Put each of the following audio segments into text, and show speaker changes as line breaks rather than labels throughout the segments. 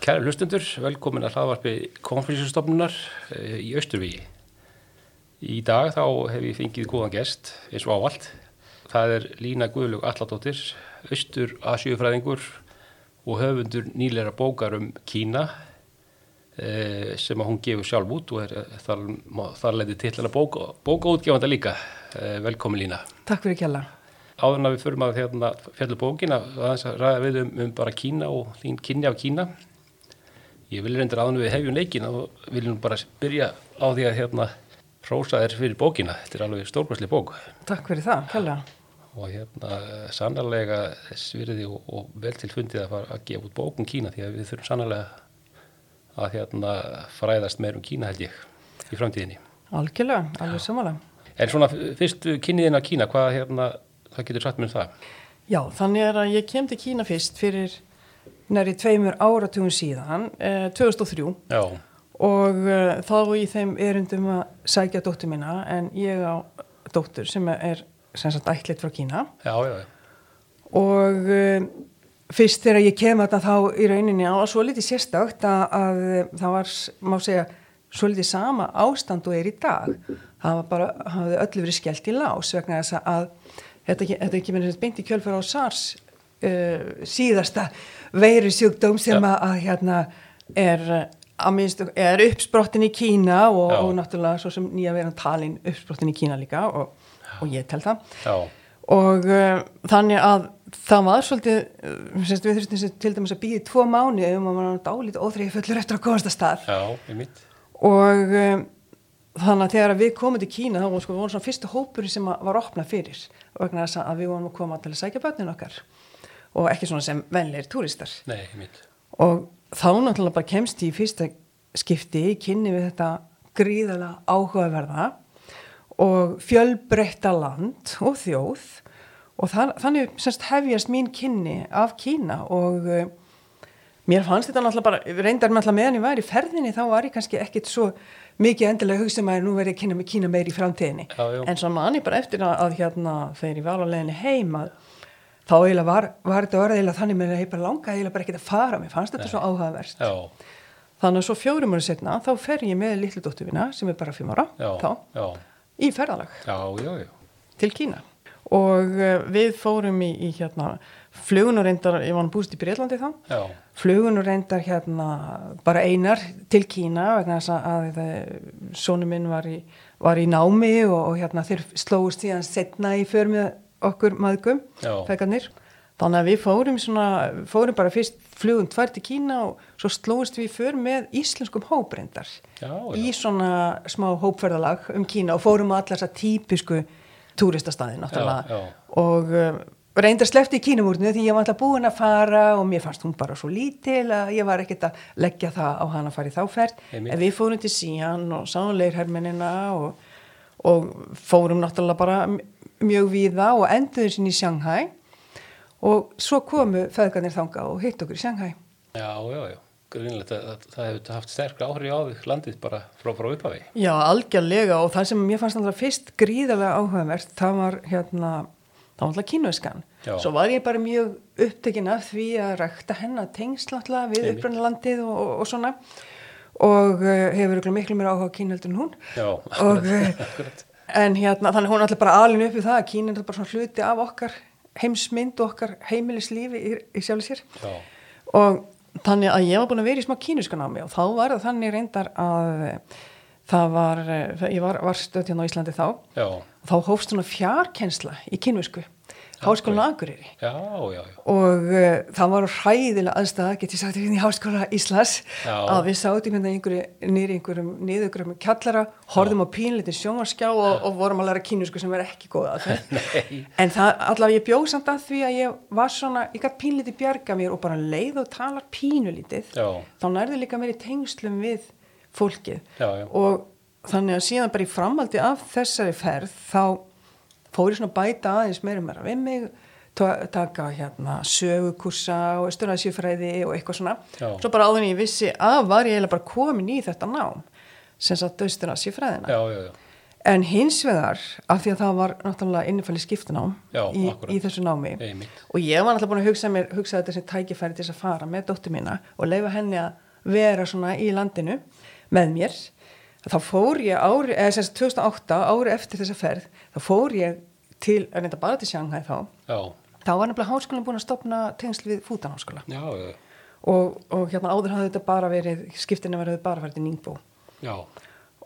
Kæra hlustundur, velkomin að hlaðvarpi konfliktstofnunar í Östurvígi. Í dag þá hef ég fengið góðan gest, eins og ávallt. Það er Lína Guðlug Alladóttir, Östur Asjöfræðingur og höfundur nýleira bókar um Kína eh, sem að hún gefur sjálf út og er, eh, þar, má- þar leiði tillana bóka, bókaútgefanda líka. Eh, Velkomin Lína.
Takk fyrir kjalla.
áður en að við förum að hérna, fjallu bókina aðeins að ræða við um, um bara Kína og þín kynni af Kína ég vil reyndir áður en við hefjum leikin og viljum bara byrja á því að hérna hrósa þér fyrir bókina þetta er alveg stórkvæsli bók
Takk fyrir það, kjalla.
og hérna eh, sannarlega þess virði og, og vel til fundið að fara að gefa út bókun Kína því að við þurfum sannarlega að hérna fræðast meir um Kína held ég í framtíðinni
Algjörlega, alveg samanlega.
en svona f- fyrst kynniðin af Kína hvað hérna, hvað getur sagt mér um það?
Já, þannig er að ég kem til Kína fyrst fyrir næri tveimur áratugum síðan, eh, 2003
Já,
og eh, þá í þeim erundum að sækja dóttur mína en ég á dóttur sem er sem sagt ætlit frá Kína
já, já, já.
og eh, fyrst þegar ég kem að þá í rauninni á svo litið sérstakt að, að eh, það var, s- má segja, svo litið sama ástand og er í dag. Það var bara, hafði öllu verið skellt í lás vegna þess að þetta, ke- þetta er ekki minnir beint í kjölfur á SARS uh, síðasta veiru sjúkdóm sem
Já.
að, að hérna er eh, að minnst er uppsprottin í Kína og,
Já.
og náttúrulega svo sem nýja veran talin uppsprottin í Kína líka og, og ég tel það
Já,
og uh, þannig að það var svolítið, uh, sérst, við þurftum sem- til dæmis að býði tvo mánu um að maður var dálítið óþreyja fullur eftir að komast að stað
já, einmitt.
og um, þannig að þegar við komum til Kína þá voru sko, voru svona fyrstu hópur sem að- var opnað fyrir vegna þess að við vorum að koma til að sækja börnin okkar og ekki svona sem venleir túristar
Nei, einmitt.
og þá náttúrulega bara kemst ég í fyrsta skipti, kynni við þetta gríðala áhugaverða og fjölbreytta land og þjóð og þar, þannig semst hefjast mín kynni af Kína og uh, mér fannst þetta náttúrulega bara, reyndar með alltaf meðan ég var í ferðinni þá var ég kannski ekkit svo mikið endilega hugsa maður nú verið að kynna með Kína meir í framtíðinni
Já, já.
en svo man ég bara eftir að, að hérna þegar ég var á leiðinni heim að þá eiginlega var, var þetta orðið eiginlega þannig með að ég bara langaði eiginlega bara ekkert að fara mér fannst þetta svo áhugaverst
Já,
þannig að svo fjórum ára setna þá fer ég með litlu dótturvina sem er bara fimm ára
já,
þá
já,
í ferðalag
já, já, já.
til Kína og uh, við fórum í, í hérna flugun og reyndar, ég var nú búist í Breitlandi þá
Já,
flugun og reyndar hérna bara einar til Kína vegna þess að, að sonu minn var í, var í námi og, og hérna þeir slóðust síðan setna í för með okkur maðgum,
Já.
fegarnir þannig að við fórum svona fórum bara fyrst flugum tvær til Kína og svo slóðust við í för með íslenskum hóprendar
Já, já.
í svona smá hópferðalag um Kína og fórum á allar þess að típisku túristastaði náttúrulega
Já, já.
og um, reyndar slefti í kínumúrinu því ég var alltaf búin að fara og mér fannst hún bara svo lítil að ég var ekkert að leggja það á hana að fara í þáferð
Einmitt.
en við fórum til síjan og sáum leirhermennina og, og fórum náttúrulega bara m- mjög víða og enduðum sinni í Shanghai og svo komu feðgarnir þanga og hitt okkur í Shanghai
já, já, já. Grunilegt að, að það hefur haft sterk áhrif á þig landið bara frá, frá upphafi.
Já, algjörlega og það sem mér fannst alltaf fyrst gríðarlega áhugavert, það var hérna, það var alltaf kínveskan.
Já.
Svo var ég bara mjög upptekin af því að rækta hennar tengsl alltaf við
Einmitt.
upprunnalandið og, og, og svona og uh, hefur örugglega miklu mér áhuga á kínu heldur en hún.
Já,
Og, uh,
akkurat.
en hérna, þannig hún er alltaf bara alin upp í það að kínu er bara svona hluti af okkar heimsmynd og okkar heimilislífi í, í sjálf sér.
Já,
Og þannig að ég var búin að vera í smá kínuskan á mig og þá var það þannig reyndar að eh, það var, eh, ég var, var stöðt hérna á Íslandi þá og
já,
þá hófst svona fjarkensla í kínusku, háskólan Akureyri.
já, já, já.
Og uh, það var hræðilega aðstæða, get ég sagt þér hérna í Háskóla Íslands,
Já.
að við sátum hérna í einhverju, nýri einhverjum niðurgröfum kjallara, horfðum á pínlítið sjónvarskjá og, og vorum að læra kínusku sem er ekki góð að það. en það, allavega ég bjóð samt að því að ég var svona, ég gætt pínlítið bjarga mér og bara um leið og talar pínulítið,
Já.
þá nærðu líka mér í tengslum við fólkið.
Já, já.
Og þannig að síðan bara í framaldi af þessari ferð þá fór ég svona að bæta aðeins meira og meira við mig, ta- taka hérna sögukursa og stöðnaðsjöfræði og eitthvað svona.
Já.
Svo bara áður en ég vissi að var ég eiginlega bara komin í þetta nám, sem sagt stöðnaðsjöfræðina.
Já, já, já.
En hins vegar, af því að það var náttúrulega innifæli skiptunám
Já,
í,
akkúrat.
í þessu námi
Einmitt.
og ég var náttúrulega búin að hugsa, mér, hugsa þetta sem tækifæri til þess að fara með dóttur mína og leifa henni að vera svona í landinu með mér. Þá fór ég ári, eða sem sagt 2008, ári eftir þessa ferð, þá fór ég til, en þetta bara til Shanghai þá,
Já,
þá var nefnilega háskólinn búin að stopna tengsl við fútanháskóla
já, já,
og, og hérna áður hafði þetta bara verið, skiptinni verið bara verið til Ningbó
já,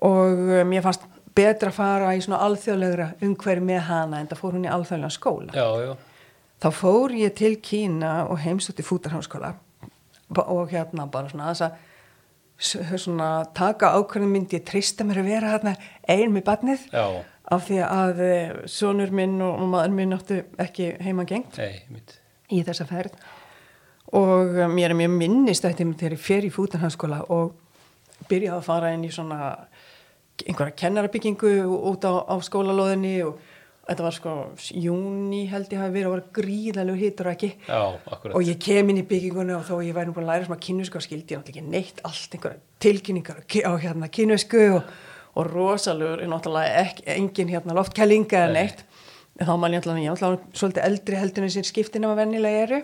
og um, mér fannst betra að fara í svona alþjóðlegra umhverfi með hana en það fór hún í alþjóðlega skóla.
já, já,
Þá fór ég til Kína og heimsótti fútarháskóla og hérna bara svona þess að s- svona, taka ákvörðum myndi ég treysta mér að vera hérna ein með barnið
já,
af því að eh, sonur minn og og maður minn áttu ekki heima gengt
einmitt,
í þessa ferð og um, ég er mjög minnist þetta þegar ég fer í fútanhanskóla og byrjaði að fara inn í svona einhverja kennarabyggingu út á, á skólalóðinni og þetta var sko júni held ég hafi verið og var gríðalegu hittur og ekki
já, akkurat,
og ég kem inn í byggingunni og þó ég væri nú búin að læra sem að kynnesku og skildi ég náttúrulega ekki neitt allt einhverja tilkynningar og ki- á hérna kynnesku og, og rosalegur er náttúrulega ekki, engin hérna loftkælinga eða
Nei.
neitt en þá man ég náttúrulega, ég er náttúrulega svolítið eldri heldinu sem skiptin að vennilega eru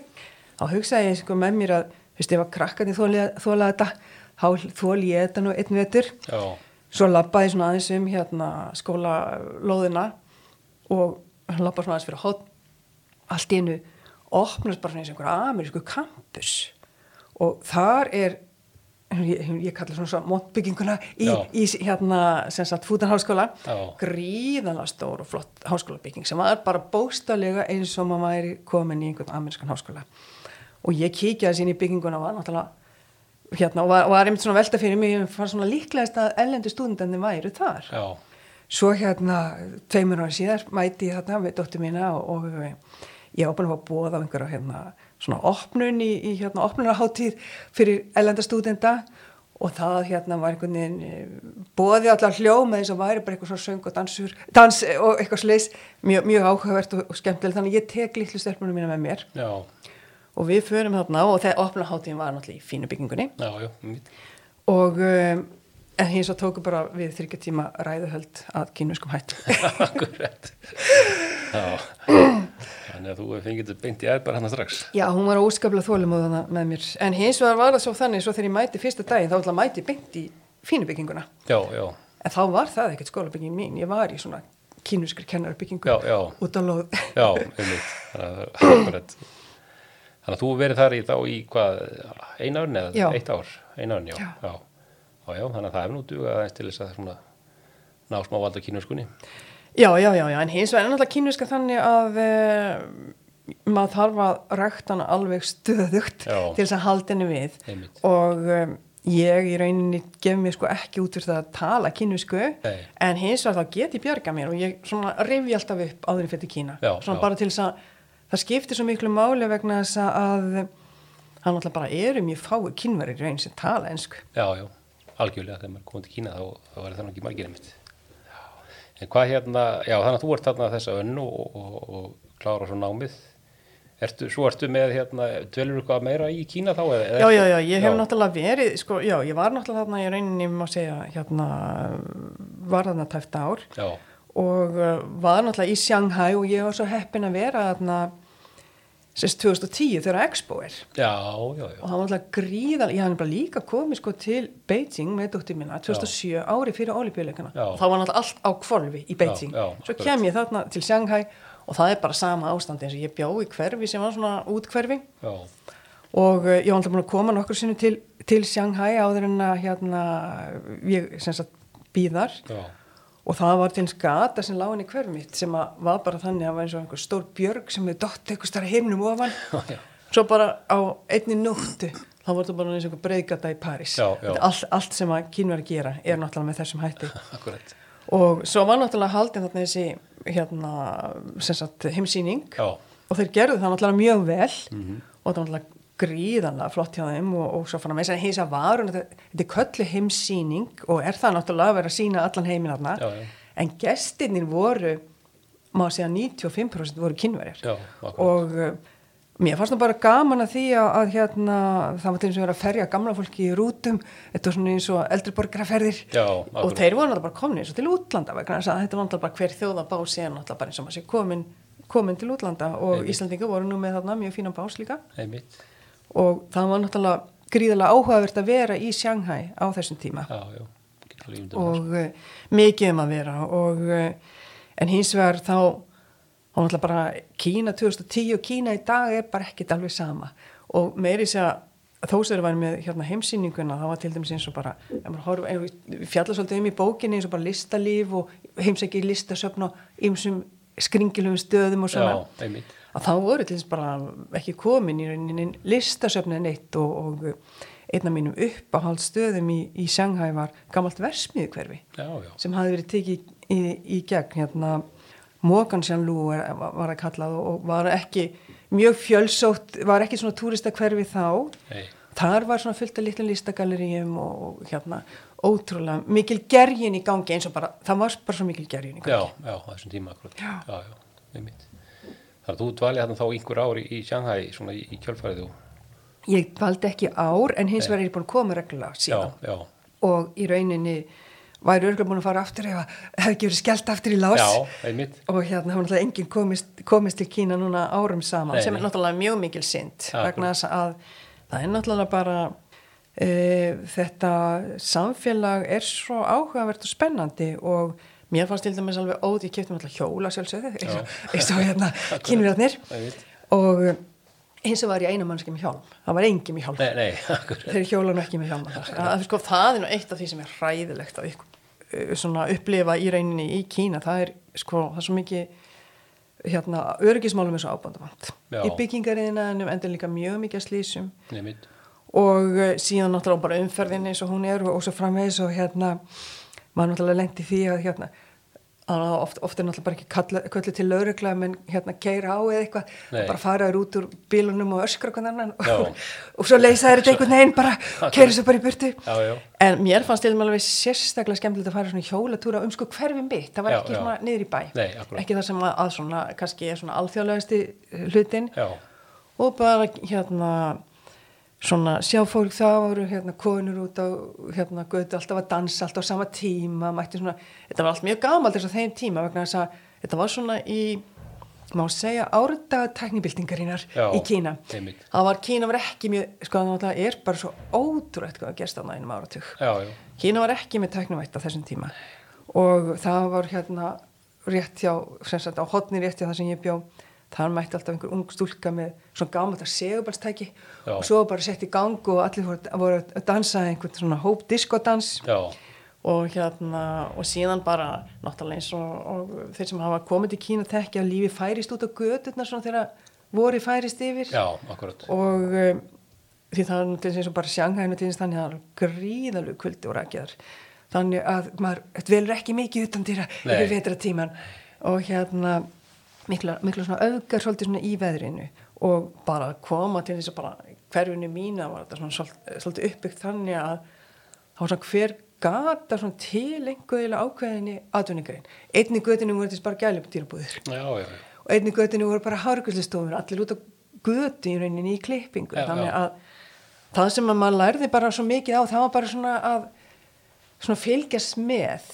þá hugsaði ég sko með mér að þú veist, ef að krakkandi þóla, þóla þetta þá þóli ég þetta nú einn vetur
já,
svo lappaði svona aðeins um hérna skólalóðina og hann lappaði svona aðeins fyrir hótt allt í einu opnast bara svona eins og einhver amerísku kampus og þar er ég, ég kalla svona svona montbygginguna í,
Já.
í hérna sem sagt fútanháskóla
Já.
gríðanlega stór og flott háskólabygging sem var bara bóstalega eins og maður væri komin í einhvern amerískan háskóla og ég kíkjaði sín í bygginguna og var náttúrulega hérna og var, var einmitt svona velta fyrir mig ég fann svona líklegast að ellendi stúdendarnir væru þar
já,
svo hérna tveimur ára síðar mæti ég þarna með dóttur mína og, og ég var búin að fá bóð á einhverja hérna svona opnun í, í hérna opnunarháttíð fyrir ellenda stúdenda og það hérna var einhvern veginn eh, boðið allar hljóma eins og væri bara eitthvað svona söng og dansur, dans eh, og eitthvað sliðs mjög, mjög áhugavert og, og skemmtileg þannig að ég tek litlu stelpunum mína með mér
já,
og við förum þarna og þegar opnaháttíðin var náttúrulega í fínu byggingunni
já, já, einmitt,
og um, en hins og tóku bara við þryggja tíma ræðuhöld að kínuskum hættu.
akkurat, já, þannig að þú hefur fengið þetta beint í erbar hann strax,
Já, hún var óskaplega þólumóðana með mér en hins vegar var það svo þannig svo þegar ég mæti fyrsta daginn þá ætla að mæti beint í fínu bygginguna
já, já,
en þá var það ekkert skólabygging mín, ég var í svona kínuskri kennarabyggingu
já, já,
út á lóð.
já, einmitt, þannig að, akkurat, þannig að þú hefur verið þar í þá í hvað, eina árn eða
Já.
eitt ár, eina árn, já,
Já.
já, já, já, þannig að það hefur nú dugað aðeins til þess að svona ná smá valda kínuskunni,
Já, já, já, já, en hins vegar er náttúrulega kínuska þannig að e, maður þarf að rækta hana alveg stöðugt
Já.
til þess að halda henni við
Einmitt.
og e, ég í rauninni gef mér sko ekki út úr það að tala kínusku
Nei.
en hins vegar þá get ég bjarga mér og ég svona rifi alltaf upp áður en fyrir Kína
Já,
svona
já.
bara til þess að það skiptir svo miklu máli vegna þess að hann náttúrulega bara eru mjög fáið kínverið í rauninni sem tala ensku
já, já, algjörlega þegar maður komið til Kína þá, þá er það nú ekki margir einmitt, já, en hvað hérna, já, þannig að þú ert þarna þessa önnu og, og, og klára svo námið, ertu, svo ertu með hérna, dvelur eitthvað meira í Kína þá, eða, eða
Já,
ertu-
já, já, ég hef náttúrulega verið, sko, já, ég var náttúrulega þarna í rauninni, má segja, hérna, var þarna tæft ár
já,
og uh, var náttúrulega í Shanghai og ég var svo heppin að vera þarna, sérst 2010 þegar Expo er
já, já, já,
og það var náttúrulega gríðan, ég hann bara líka komið sko til Beijing með dóttir minna 2007 ári fyrir olífjöleikana,
Já.
þá var náttúrulega allt á kvolfi í Beijing,
Já, já,
svo
akkurat.
kem ég þarna til Shanghai og það er bara sama ástand eins og ég bjó í hverfi sem var svona útkverfi
já,
og eh, ég var alltaf búin að koma nokkur sinni til, til Shanghai áður en að hérna, ég sem sagt býðar
já,
og það var til eins gata sem lág inn í hverfið mitt sem að var bara þannig að það var eins og einhver stór björg sem við dott eitthvað starf heimnum ofan
já.
svo bara á einni nóttu þá var þetta bara eins og einhver breiðgata í París
Já, já.
Þetta er Allt, allt sem að kínverð gera er náttúrulega með þessum hætti
akkurat,
og svo var náttúrulega haldin þarna þessi hérna, sem sagt, heimsýning
já,
og þeir gerðu það náttúrulega mjög vel
Mhm.
og það var náttúrulega gríðanlega flott hjá þeim og, og svo fann að með þess að hinsa varun þetta þetta er köllu heimsýning og er það náttúrulega að vera að sína allan heiminn
Já,
þarna
já.
en gestirnir voru má segja 95% voru kynverjar
Já, akkurat.
og uh, Mér fannst það bara gaman að því að, að hérna, það var til eins og verið að ferja gamla fólki í rútum, þetta var svona eins og eldriborgaraferðir
Já,
og
akkurat.
þeir voru náttúrulega bara komin eins og til útlanda vegna þess að þetta var náttúrulega bara hver þjóða bás síðan náttúrulega bara eins og maður sé komin, komin til útlanda og
Einmitt.
Íslandinga voru nú með þarna mjög fínan bás líka
einmitt,
og það var náttúrulega gríðarlega áhugavert að vera í Shanghai á þessum tíma
já, já, Getur alveg ímyndað mér.
og uh, mikið um að vera og, uh, en hins vegar þá og náttúrulega bara Kína 2010 og Kína í dag er bara ekkit alveg sama og meiri sér að þó sem þeir væri með hérna, heimsýninguna það var til dæmis eins og bara ef maður horf, ef við fjalla svolítið um í bókinni eins og bara listalíf og heimsæki listasöfn og ymsum skringilum stöðum og svona
Já, einmitt.
að þá voru til þess bara ekki komin í rauninni listasöfnin eitt og, og einn af mínum uppáhaldstöðum í, í Shanghai var gamalt versmiðkverfi
já, já,
sem hafði verið tekið í, í gegn hérna Mokansjanlú var að kallað og- og var ekki mjög fjölsótt, var ekki svona túristakverfi þá
nei,
Þar var svona fullt af litlum listagaleríum og og hérna ótrúlega mikil gergin í gangi eins og bara, það var bara svo mikil gergin í gangi.
já, já, á þessum tíma akkurat.
Já.
já, já, einmitt. Þannig að þú dvalið þarna þá einhver ár í, í Shanghai, svona í, í kjölfærið og,
Ég valdi ekki ár en hins vegar er ég búin að koma reglulega
já,
síðan.
já,
og í rauninni væri örgulega búin að fara aftur ef að hefði ekki verið skellt aftur í lás
já, einmitt,
og hérna hafa náttúrulega enginn komist, komist til Kína núna árum saman
Nei,
sem
nei.
er náttúrulega mjög mikil synd
Akkurat.
vegna þess að það er náttúrulega bara e, þetta samfélag er svo áhugavert og spennandi og mér fannst til dæmis alveg óð, ég kefti mér alltaf hjóla sjálfsögðu eins og- eins og hérna kínverðnir
Einmitt.
og eins og var ég einu mannski með hjálm það var engin með hjálm
nei, nei, akkurat,
þeir hjóla nú ekki með hjálma þar það, sko, það er nú eitt af því sem er hræðilegt að ykk- uh, svona, upplifa í rauninni í Kína það er, sko, það er svo mikið hérna, öryggismálum er svo ábandavant
Já.
í byggingariðinanum endur líka mjög mikið af slísum
einmitt,
og uh, síðan náttúrulega bara umferðin eins og hún er og, og svo framvegis og hérna maður náttúrulega lendi því að hérna að oft, oft er náttúrulega bara ekki kalla- kölluð til laurugla menn hérna keira á eða eitthvað
Nei.
bara faraður út úr bílunum og öskra hvernig annan
Já.
og, og svo leysa þeir þetta einhvern veginn bara keira svo bara í burtu
já, já,
en mér fannst til alveg sérstaklega skemmtilegt að fara svona hjólatúra um sko hverfin mitt það var
Já,
ekki
já.
svona niður í bæ
Nei, akkúrat.
ekki það sem að, að svona kannski er svona alþjóðlegasti eh, hlutin
já,
og bara hérna svona sjá fólk það voru hérna konur út á hérna götu alltaf að dansa alltaf á sama tíma mætti svona, þetta var allt mjög gamalt þess að þeim tíma vegna þess að þetta var svona í má segja árdaga teknibildingarinnar
Já,
í Kína
einmitt.
það var Kína var ekki mjög sko það náttúrulega er bara svo ótrúlegt hvað að gerst þarna einum áratug
já, já,
Kína var ekki með tæknivætt á þessum tíma og það var hérna rétt hjá, sem sagt á hotni rétt hjá það sem ég bjó, þar mætti alltaf einhver ung stúlka með svona gamalt að segubalstæki
Já.
og svo var bara sett í gang og allir voru, voru að dansa einhvern svona hóp diskodans
já,
og hérna og síðan bara náttúrulega eins og, og þeir sem hafa komið til Kína þekki að lífi færist út á gödurnar svona þegar voru færist yfir
já, akkurat,
og um, því það er nú til þess eins og bara sjanghæðinu til þess þannig að það er gríðalug kvöldi og rakjaðar þannig að maður þetta velur ekki mikið utan dýra
Nei.
yfir vetratíman og hérna mikla, mikla svona öfgar svolítið svona í veðrinu og bara að koma til þess að bara hverfinu mína var þetta svona svol- svolítið uppbyggt þannig að það var svona hver gata svona til einhverjulega ákveðinni atvinningrein. Einni götinu voru þess bara gælum dýrabúðir
já, já, já,
og einni götinu voru bara hárgjöldustofur allir út á götu í rauninni í klippingu
Já,
þannig
já.
að það sem að maður lærði bara svo mikið á það var bara svona að svona fylgjast með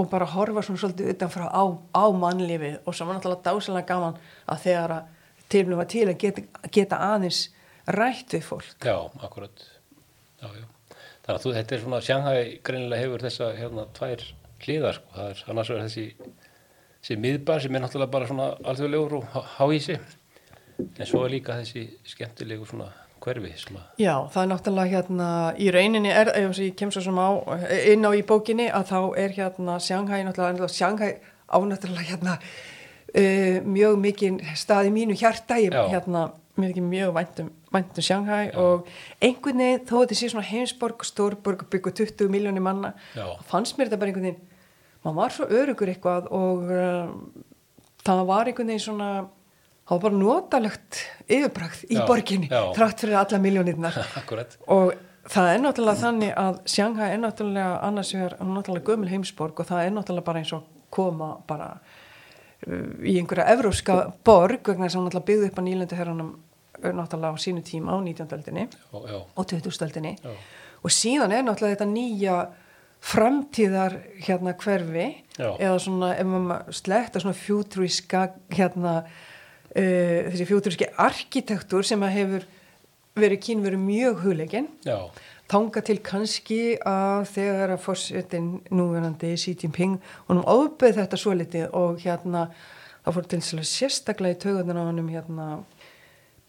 og bara horfa svona svolítið utanfrá á, á mannlífið og svo var náttúrulega dásalega gaman að þegar að tilblum var til að geta, geta aðeins rætt við fólk
já, akkurat, já, já. Þannig að þú, þetta er svona, Shanghai greinilega hefur þessa, hérna, tvær hliðar, sko, það er annars vegar þessi, þessi miðbar sem er náttúrulega bara svona alþjóðlegur og há- háísi, en svo er líka þessi skemmtilegu svona hverfi sem að,
Já, það er náttúrulega hérna í rauninni er, ef ég kem svo sem á inn á í bókinni að þá er hérna Sjanghæ, náttúrulega, náttúrulega Sjanghæ ánáttúrulega hérna uh, mjög mikið stað í mínu hjarta ég,
Já.
hérna, mér ekki mjög um, væntum væntum Sjanghæ og einhvern veginn þó að þetta sé svona heimsborg, stórborg byggu 20 miljónir manna
Já.
fannst mér þetta bara einhvern veginn maður var svo örugur eitthvað og uh, það var einhvern veginn svona það var bara notalegt yfirbragð í
Já,
borginni,
já.
þrátt fyrir alla miljónirnar
akkurat,
og það er náttúrulega þannig að Sjanghai er náttúrulega annars vegar, hún er náttúrulega gömul heimsborg og það er náttúrulega bara eins og koma bara uh, í einhverja evróska borg vegna þess að hún náttúrulega byggði upp á nýlendu herranum eh, náttúrulega á sínu tíma á 19. öldinni
já, já,
og 20. öldinni
já,
og síðan er náttúrulega þetta nýja framtíðar hérna hverfi
Já.
eða svona ef maður sletta svona fjúturíska hérna uh, þessi fjúturíski arkitektur sem að hefur verið kínverið mjög hugleikinn
já,
þanga til kannski að þegar að fórsetin núverandi Xi Jinping honum ofbeð þetta svo litið og hérna það fór til sérlega sérstaklega í taugunar á honum hérna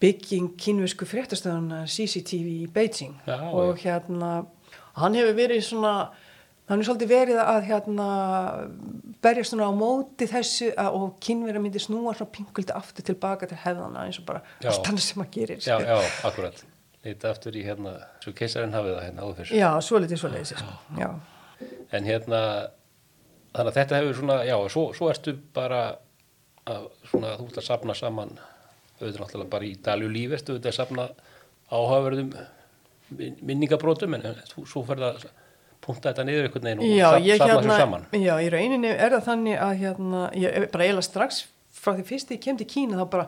bygging kínvisku fréttastöðuna CCTV í Beijing
Já,
og hérna hann hefur verið svona hann er svolítið verið að hérna berjast svona á móti þessu að, og kínverja myndi snúa svona pinkuldi aftur tilbaka til hefðana eins og bara
Já.
allt annað sem að gerir sko.
já, já, akkurat. Leita aftur í hérna, svo keisarinn hafið það hérna áður fyrir.
já svolítið svoleiðis sko. já.
En hérna, þannig að þetta hefur svona, já, svo, svo ertu bara að svona, þú ert að safna saman, auðvitað náttúrulega bara í dalju lífi, ertu auðvitað að safna áhaverðum min- minningabrotum, en þú, svo ferð að punta þetta niður einhvern veginn og
já,
sa-
ég,
safna
hérna,
þessu saman.
já, í rauninni er það þannig að hérna, ég bara eiginlega strax frá því fyrst ég kem til Kína þá bara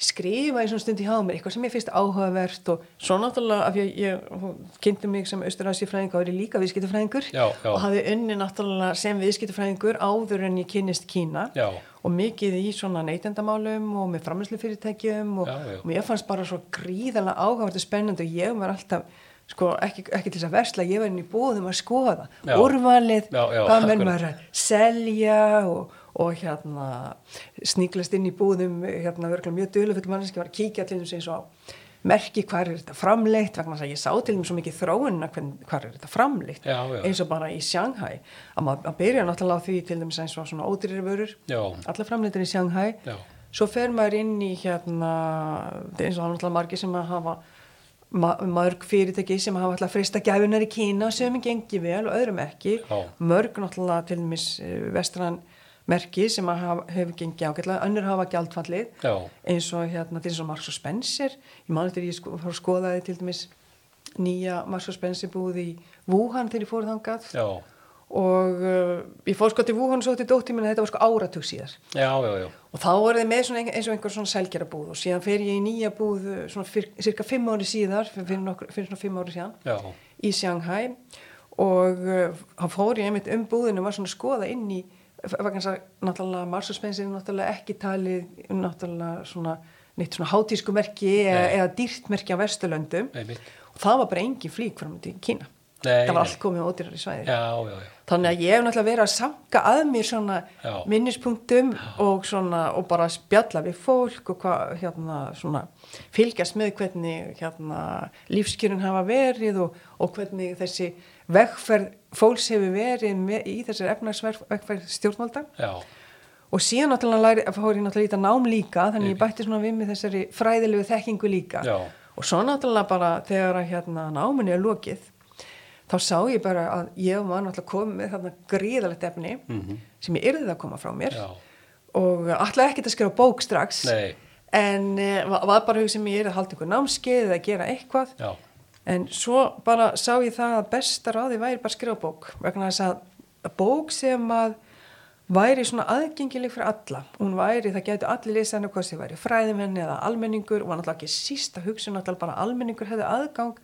skrifa eins og stund í hafa mér eitthvað sem ég finnst áhugavert og svo náttúrulega af því að ég, ég kynnti mig sem austurasífræðing og er ég líka viðskiptufræðingur
Já, já.
og hafði unni náttúrulega sem viðskiptufræðingur áður en ég kynnist Kína
Já,
og mikið í svona neytendamálum og með framlýslufyrirtækjum og,
Já, já.
og ég fannst bara svo gríðalega áhugavert og spennandi og ég var alltaf sko, ekki, ekki til þess að versla, ég var inn í búðum að skoða
Já.
úrvalið,
Já, já,
hvað menn
akkurat.
maður er að selja og, og hérna sníklast inn í búðum hérna örgulega mjög duðlufull mannski var að kíkja til þess eins og á merki hvar er þetta framleitt vegna þess að ég sá til þeim svo mikið þróunina hvar er þetta framleitt
Já, já.
eins og bara í Shanghai að maður að byrja náttúrulega á því til þeim eins og svona ódýrir vörur
já,
allar framleitir í Shanghai
já,
svo fer maður inn í hérna þetta er eins og hann alltaf margir sem að hafa ma mörg fyrirtæki sem hafa alltaf frista gæfunar í Kína sem gengi vel og öðrum ekki
Já.
mörg náttúrulega til mis vestran merki sem að hafa, hefur gengið ágætlega, önnur hafa gjaldfallið
já,
eins og hérna til þess að Marks og Spencer ég man eftir ég sko, fór að skoðaði til dæmis nýja Marks og Spencer búið í Wuhan þegar ég fór þangað
já,
og uh, ég fór sko til Wuhan svo til dótti minna þetta var sko áratug síðar
já, já, já,
og þá voru þið með svona ein- eins og einhver svona selgerabúð og síðan fer ég í nýja búð uh, svona fyr, cirka fimm ári síðar fyrir, fyrir, nokkur, fyrir svona fimm ári síðan
já,
í Shanghai og uh, hann fór ég einmitt um búðinu og var svona að skoða inn í eh, vegna þess að náttúrulega marsurspensin er náttúrulega ekki talið um náttúrulega svona neitt svona hátísku merki eða,
Nei.
eða dýrt merki á Vesturlöndum
einmitt.
og það var bara engin flík fram til Kína
Nei,
það var
nei.
allt komið á ódýrari svæði
Já, já, já,
Þannig að ég hef náttúrulega verið að sanka að mér svona
Já.
minnispunktum og, svona, og bara spjalla við fólk og hvað, hérna, svona, fylgjast með hvernig hérna, lífskjörun hafa verið og, og hvernig þessi vegferð fólks hefur verið með, í þessari efnagsvegferð stjórnvalda.
já,
Og síðan náttúrulega læri, fór ég náttúrulega í þetta nám líka, þannig að ég bætti svona við með þessari fræðilegu þekkingu líka.
Já.
Og svo náttúrulega bara þegar að hérna náminni er lokið, þá sá ég bara að ég var náttúrulega komið með þarna gríðalegt efni sem ég yrðið að koma frá
Mhm.
mér
já,
og alltaf ekkert að skrifa bók strax.
Nei.
En eh, va- var bara hug sem ég yrði að halda ykkur námskeið eða gera eitthvað.
já,
En svo bara sá ég það að besta ráði væri bara að skrifa bók vegna þess að bók sem að væri svona aðgengileg fyrir alla. Hún væri, það gætu allir lesa henni hvað sem væri fræðimenni eða almenningur og var náttúrulega ekki sísta hugsun náttúrulega bara að almenningur hefði aðgang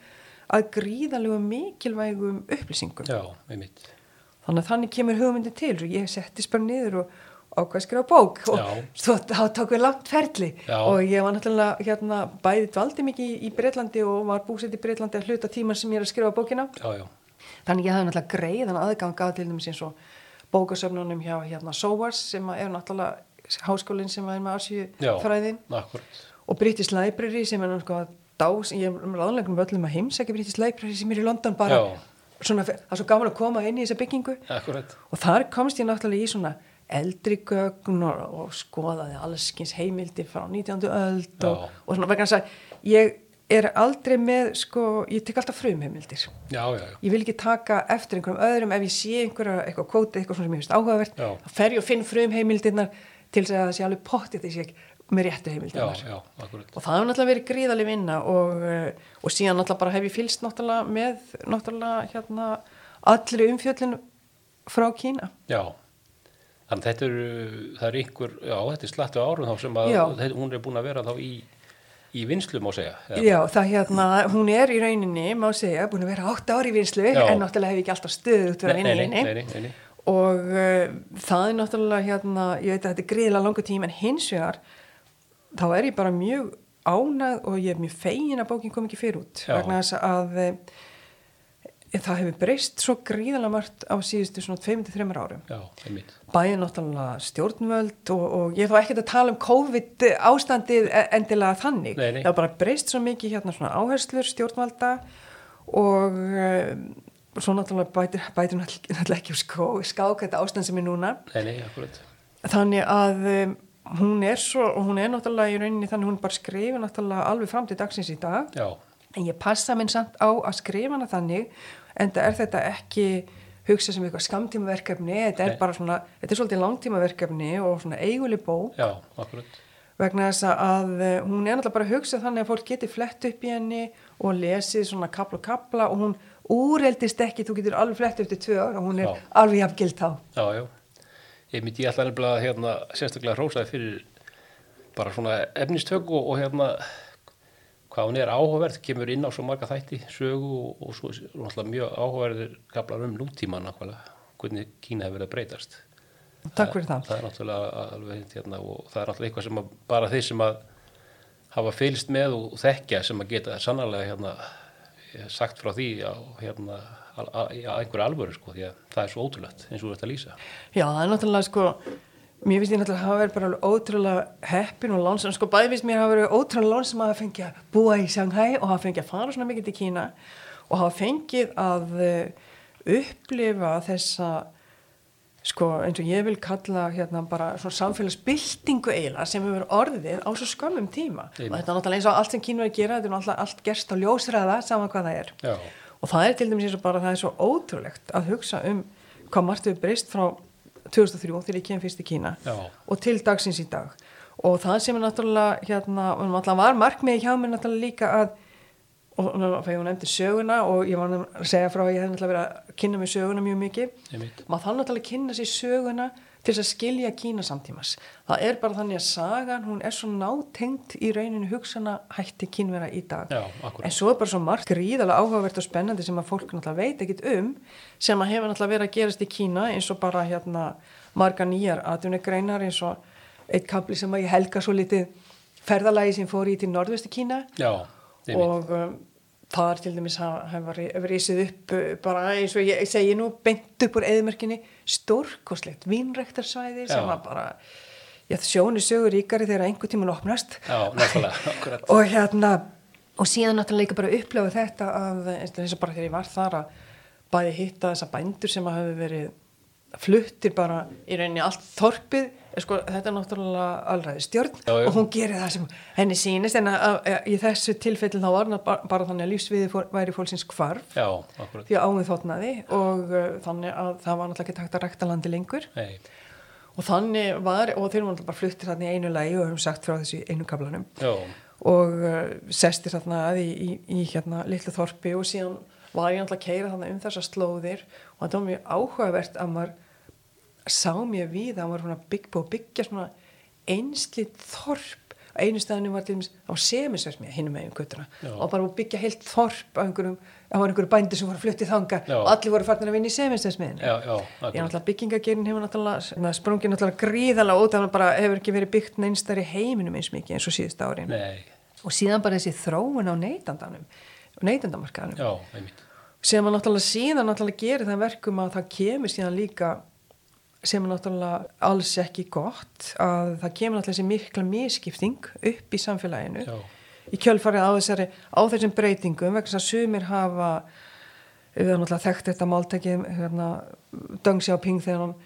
að gríðalegu mikilvægum upplýsingum.
já, einmitt.
Þannig að þannig kemur hugmyndin til og ég settist bara niður og ákvað að skrifa bók og
Já.
svo þá tók við langt ferli
Já.
og ég var náttúrulega hérna bæði dvaldi mikið í, í Breitlandi og var búsett í Breitlandi að hluta tíman sem ég er að skrifa bókina
Já, já,
þannig ég hafði náttúrulega greiðan aðgang að til dæmis eins og bókasöfnunum hjá hérna SOAS sem að er náttúrulega háskólinn sem er með
já.
arsíufræðin
Akkurat,
og British Library sem er náttúrulega dás, ég er ráðanlegum öllum að heimsækja British Library sem er í London bara
Já.
svona, það er svo gaman að koma inn í þessa byggingu
akkurat,
og þar komst ég náttúrulega í svona eldri gögn og, og skoðaði allskins heimildi frá 19. öld og,
Já.
og svona vegna þess að ég er aldrei með sko, ég tek alltaf frum heimildir
já, já, já,
ég vil ekki taka eftir einhverjum öðrum ef ég sé einhverja eitthvað kvóti, eitthvað svona sem ég finnst áhugavert
Já.
þá fer ég og finn frum heimildirnar til þess að það sé alveg pottið þess ég með réttu
já,
heimildirnar
já, akkurat.
og það hefur náttúrulega verið gríðaleg vinna og, eh, og síðan náttúrulega bara hef ég fylst náttúrulega með náttúrulega hérna allri umfjöllin frá Kína
Já, þannig þetta eru, það eru einhver, já þetta er slattu árum þá sem að
Já.
þetta, hún er búin að vera þá í, í í vinslu má segja eða-
Já, það hérna, hún er í rauninni, má segja, búin að vera átt ári í vinslu,
Já.
en náttúrulega hef ég ekki alltaf stöðu út verið
Nei,
inn
nei,
í henni.
nei, nei, nei, nei.
Og uh, það er náttúrulega hérna, ég veit að þetta er gríðilega langur tíma, en hins vegar, þá er ég bara mjög ánægð og ég er mjög fegin að bókin kom ekki fyrir út.
Já.
Vegna þess að uh, það hefur breyst svo gríðilega margt á síðustu svona 2-3 árum
Já, einmitt.
bæði náttúrulega stjórnvöld og, og ég er þá ekkert að tala um COVID ástandið e- endilega þannig
Nei, nei.
það var bara breyst svo mikið hérna svona áherslur stjórnvalda og um, svo náttúrulega bætir, bætir náttúrulega náttúrulega ekki úr skó, skák þetta ástand sem er núna
Nei, nei, akkurat.
þannig að um, hún er svo og hún er náttúrulega í rauninni þannig að hún bara skrifir náttúrulega alveg fram til dagsins í dag
Já,
en ég passa minn samt á að skrifa hana þannig en það er þetta ekki hugsa sem eitthvað skamtímaverkefni þetta er
Nei.
bara svona, þetta er svolítið langtímaverkefni og svona eiguleg bók
já, akkurat.
vegna þess að eh, hún er náttúrulega bara hugsað þannig að fólk geti flett upp í henni og lesið svona kapla og kapla og hún úreldist ekki, þú getur alveg flett upp til tvö ára og hún er
Já.
alveg jafngild þá
Já, já. Einmitt, ég ætla nefnilega að hérna, sérstaklega hrósaði fyrir bara svona efnistöku og, og hérna hvað hún er áhugaverð, kemur inn á svo marga þætti, sögu og, og svo er hún alltaf mjög áhugaverðir kaplar um nútíman nákvæmlega, hvernig Kína hefur verið að breytast.
takk fyrir það
Það er náttúrulega alveg hérna og það er náttúrulega eitthvað sem að, bara þeir sem að hafa fylgst með og þekkja sem að geta sannarlega hérna sagt frá því á hérna al- al- í einhverju alvöru sko því að það er svo ótrúlegt eins og þetta lýsa.
Já, það er náttúrulega sko Mér finnst ég náttúrulega hafa verið bara alveg ótrúlega heppin og lánsam, sko bæði finnst mér hafa verið ótrúlega lánsam að hafa fengið að búa í Shanghai og hafa fengið að fara svona mikið til Kína og hafa fengið að eh, upplifa þessa sko eins og ég vil kalla hérna bara svona samfélagsbyltingu eiginlega sem hefur orðið á svo skömmum tíma
Einmitt.
og þetta er náttúrulega eins og allt sem Kína er að gera þetta er náttúrulega allt gerst á ljósræða saman hvað það er
Já.
og það er til dæmis eins og bara það er svo ótrúlegt að hugsa um hvað margt hefur breyst frá 2003 þegar ég kem fyrst í Kína
Já.
og til dagsins í dag og það sem er náttúrulega hérna, og náttúrulega var markmiði hjá mér náttúrulega líka að og og- þegar hún nefndi söguna og ég var nú að segja frá að ég hef náttúrulega verið að kynna mig söguna mjög mikið
Einmitt.
maður þarf náttúrulega að kynna sér söguna til þess að skilja Kína samtímas það er bara þannig að sagan hún er svo nátengt í rauninu hugsana hætti kínvera í dag
Já, akkúrat.
en svo er bara svo margt gríðalega áhugavert og spennandi sem að fólk náttúrulega veit ekkit um sem að hefur náttúrulega verið að gerast í Kína eins og bara hérna marga nýjar atvinnugreinar eins og eitt kapli sem að ég helga svo litið ferðalagi sem fór í til norðvestu Kína
Já, einmitt.
og um, þar til dæmis hafa hafa ri- hafa risið upp uh, bara eins og ég segi nú bent upp úr eðmörkinni stórkoslegt vínrektarsvæði sem
Já.
að bara já, sjónu sögur ríkari þegar einhver tíman opnast
Já, nákvæmlega, akkurat.
og hérna og síðan náttúrulega líka bara upplöfu þetta að eins og- eins og bara þegar ég var þar að bæði hitta þessa bændur sem að hafa verið fluttir bara í rauninni allt þorpið eh, sko, þetta er náttúrulega alræði stjórn
Já, já.
og hún gerir það sem henni sýnist en að, að, að, í þessu tilfelli þá var hann bara, bara þannig að lífsviði fór, væri fólksins hvarf
Já, akkurat.
því að ámið þóttnaði og uh, þannig að það var náttúrulega ekki takt að rækta landi lengur
Nei,
og þannig var, og þeir voru náttúrulega bara fluttir þannig í einu lagi og hefum sagt frá þessu í einu kablanum
já,
og uh, sestir þarna að í, í, í hérna litlu þorpi og síðan var ég náttúrulega að keira þarna um þessar slóðir og þetta var mjög áhugavert að maður sá mér við að maður svona bygg, búið að byggja svona einslið þorp á einu staðinu var til dæmis á semisverðmið hinum megin guttuna
Já.
og bara búið að byggja heilt þorp á einhverjum, það var einhverjum bændur sem voru að flutti þanga
Já.
og allir voru farnir að vinna í semisverðmiðinu
já, já,
Ég
akkurat.
náttúrulega byggingagerinn hefur náttúrulega svona, sprungið náttúrulega gríðalega út þannig að bara hefur ekki verið byggt neinstar í heiminum eins mikið eins og síðust árin
Nei,
og síðan bara þessi þróun á neytandanum neytandamarkaðanum
já, einmitt.
sem að náttúrulega síðan náttúrulega gerir það verkum að það kemur síðan líka sem er náttúrulega alls ekki gott að það kemur náttúrulega þessi mikla miskipting upp í samfélaginu
Já.
í kjölfarið á, þessari, á þessum breytingum vegna þess að sumir hafa við erum náttúrulega þekkt þetta máltækið hérna, Deng Xiaoping þegar hann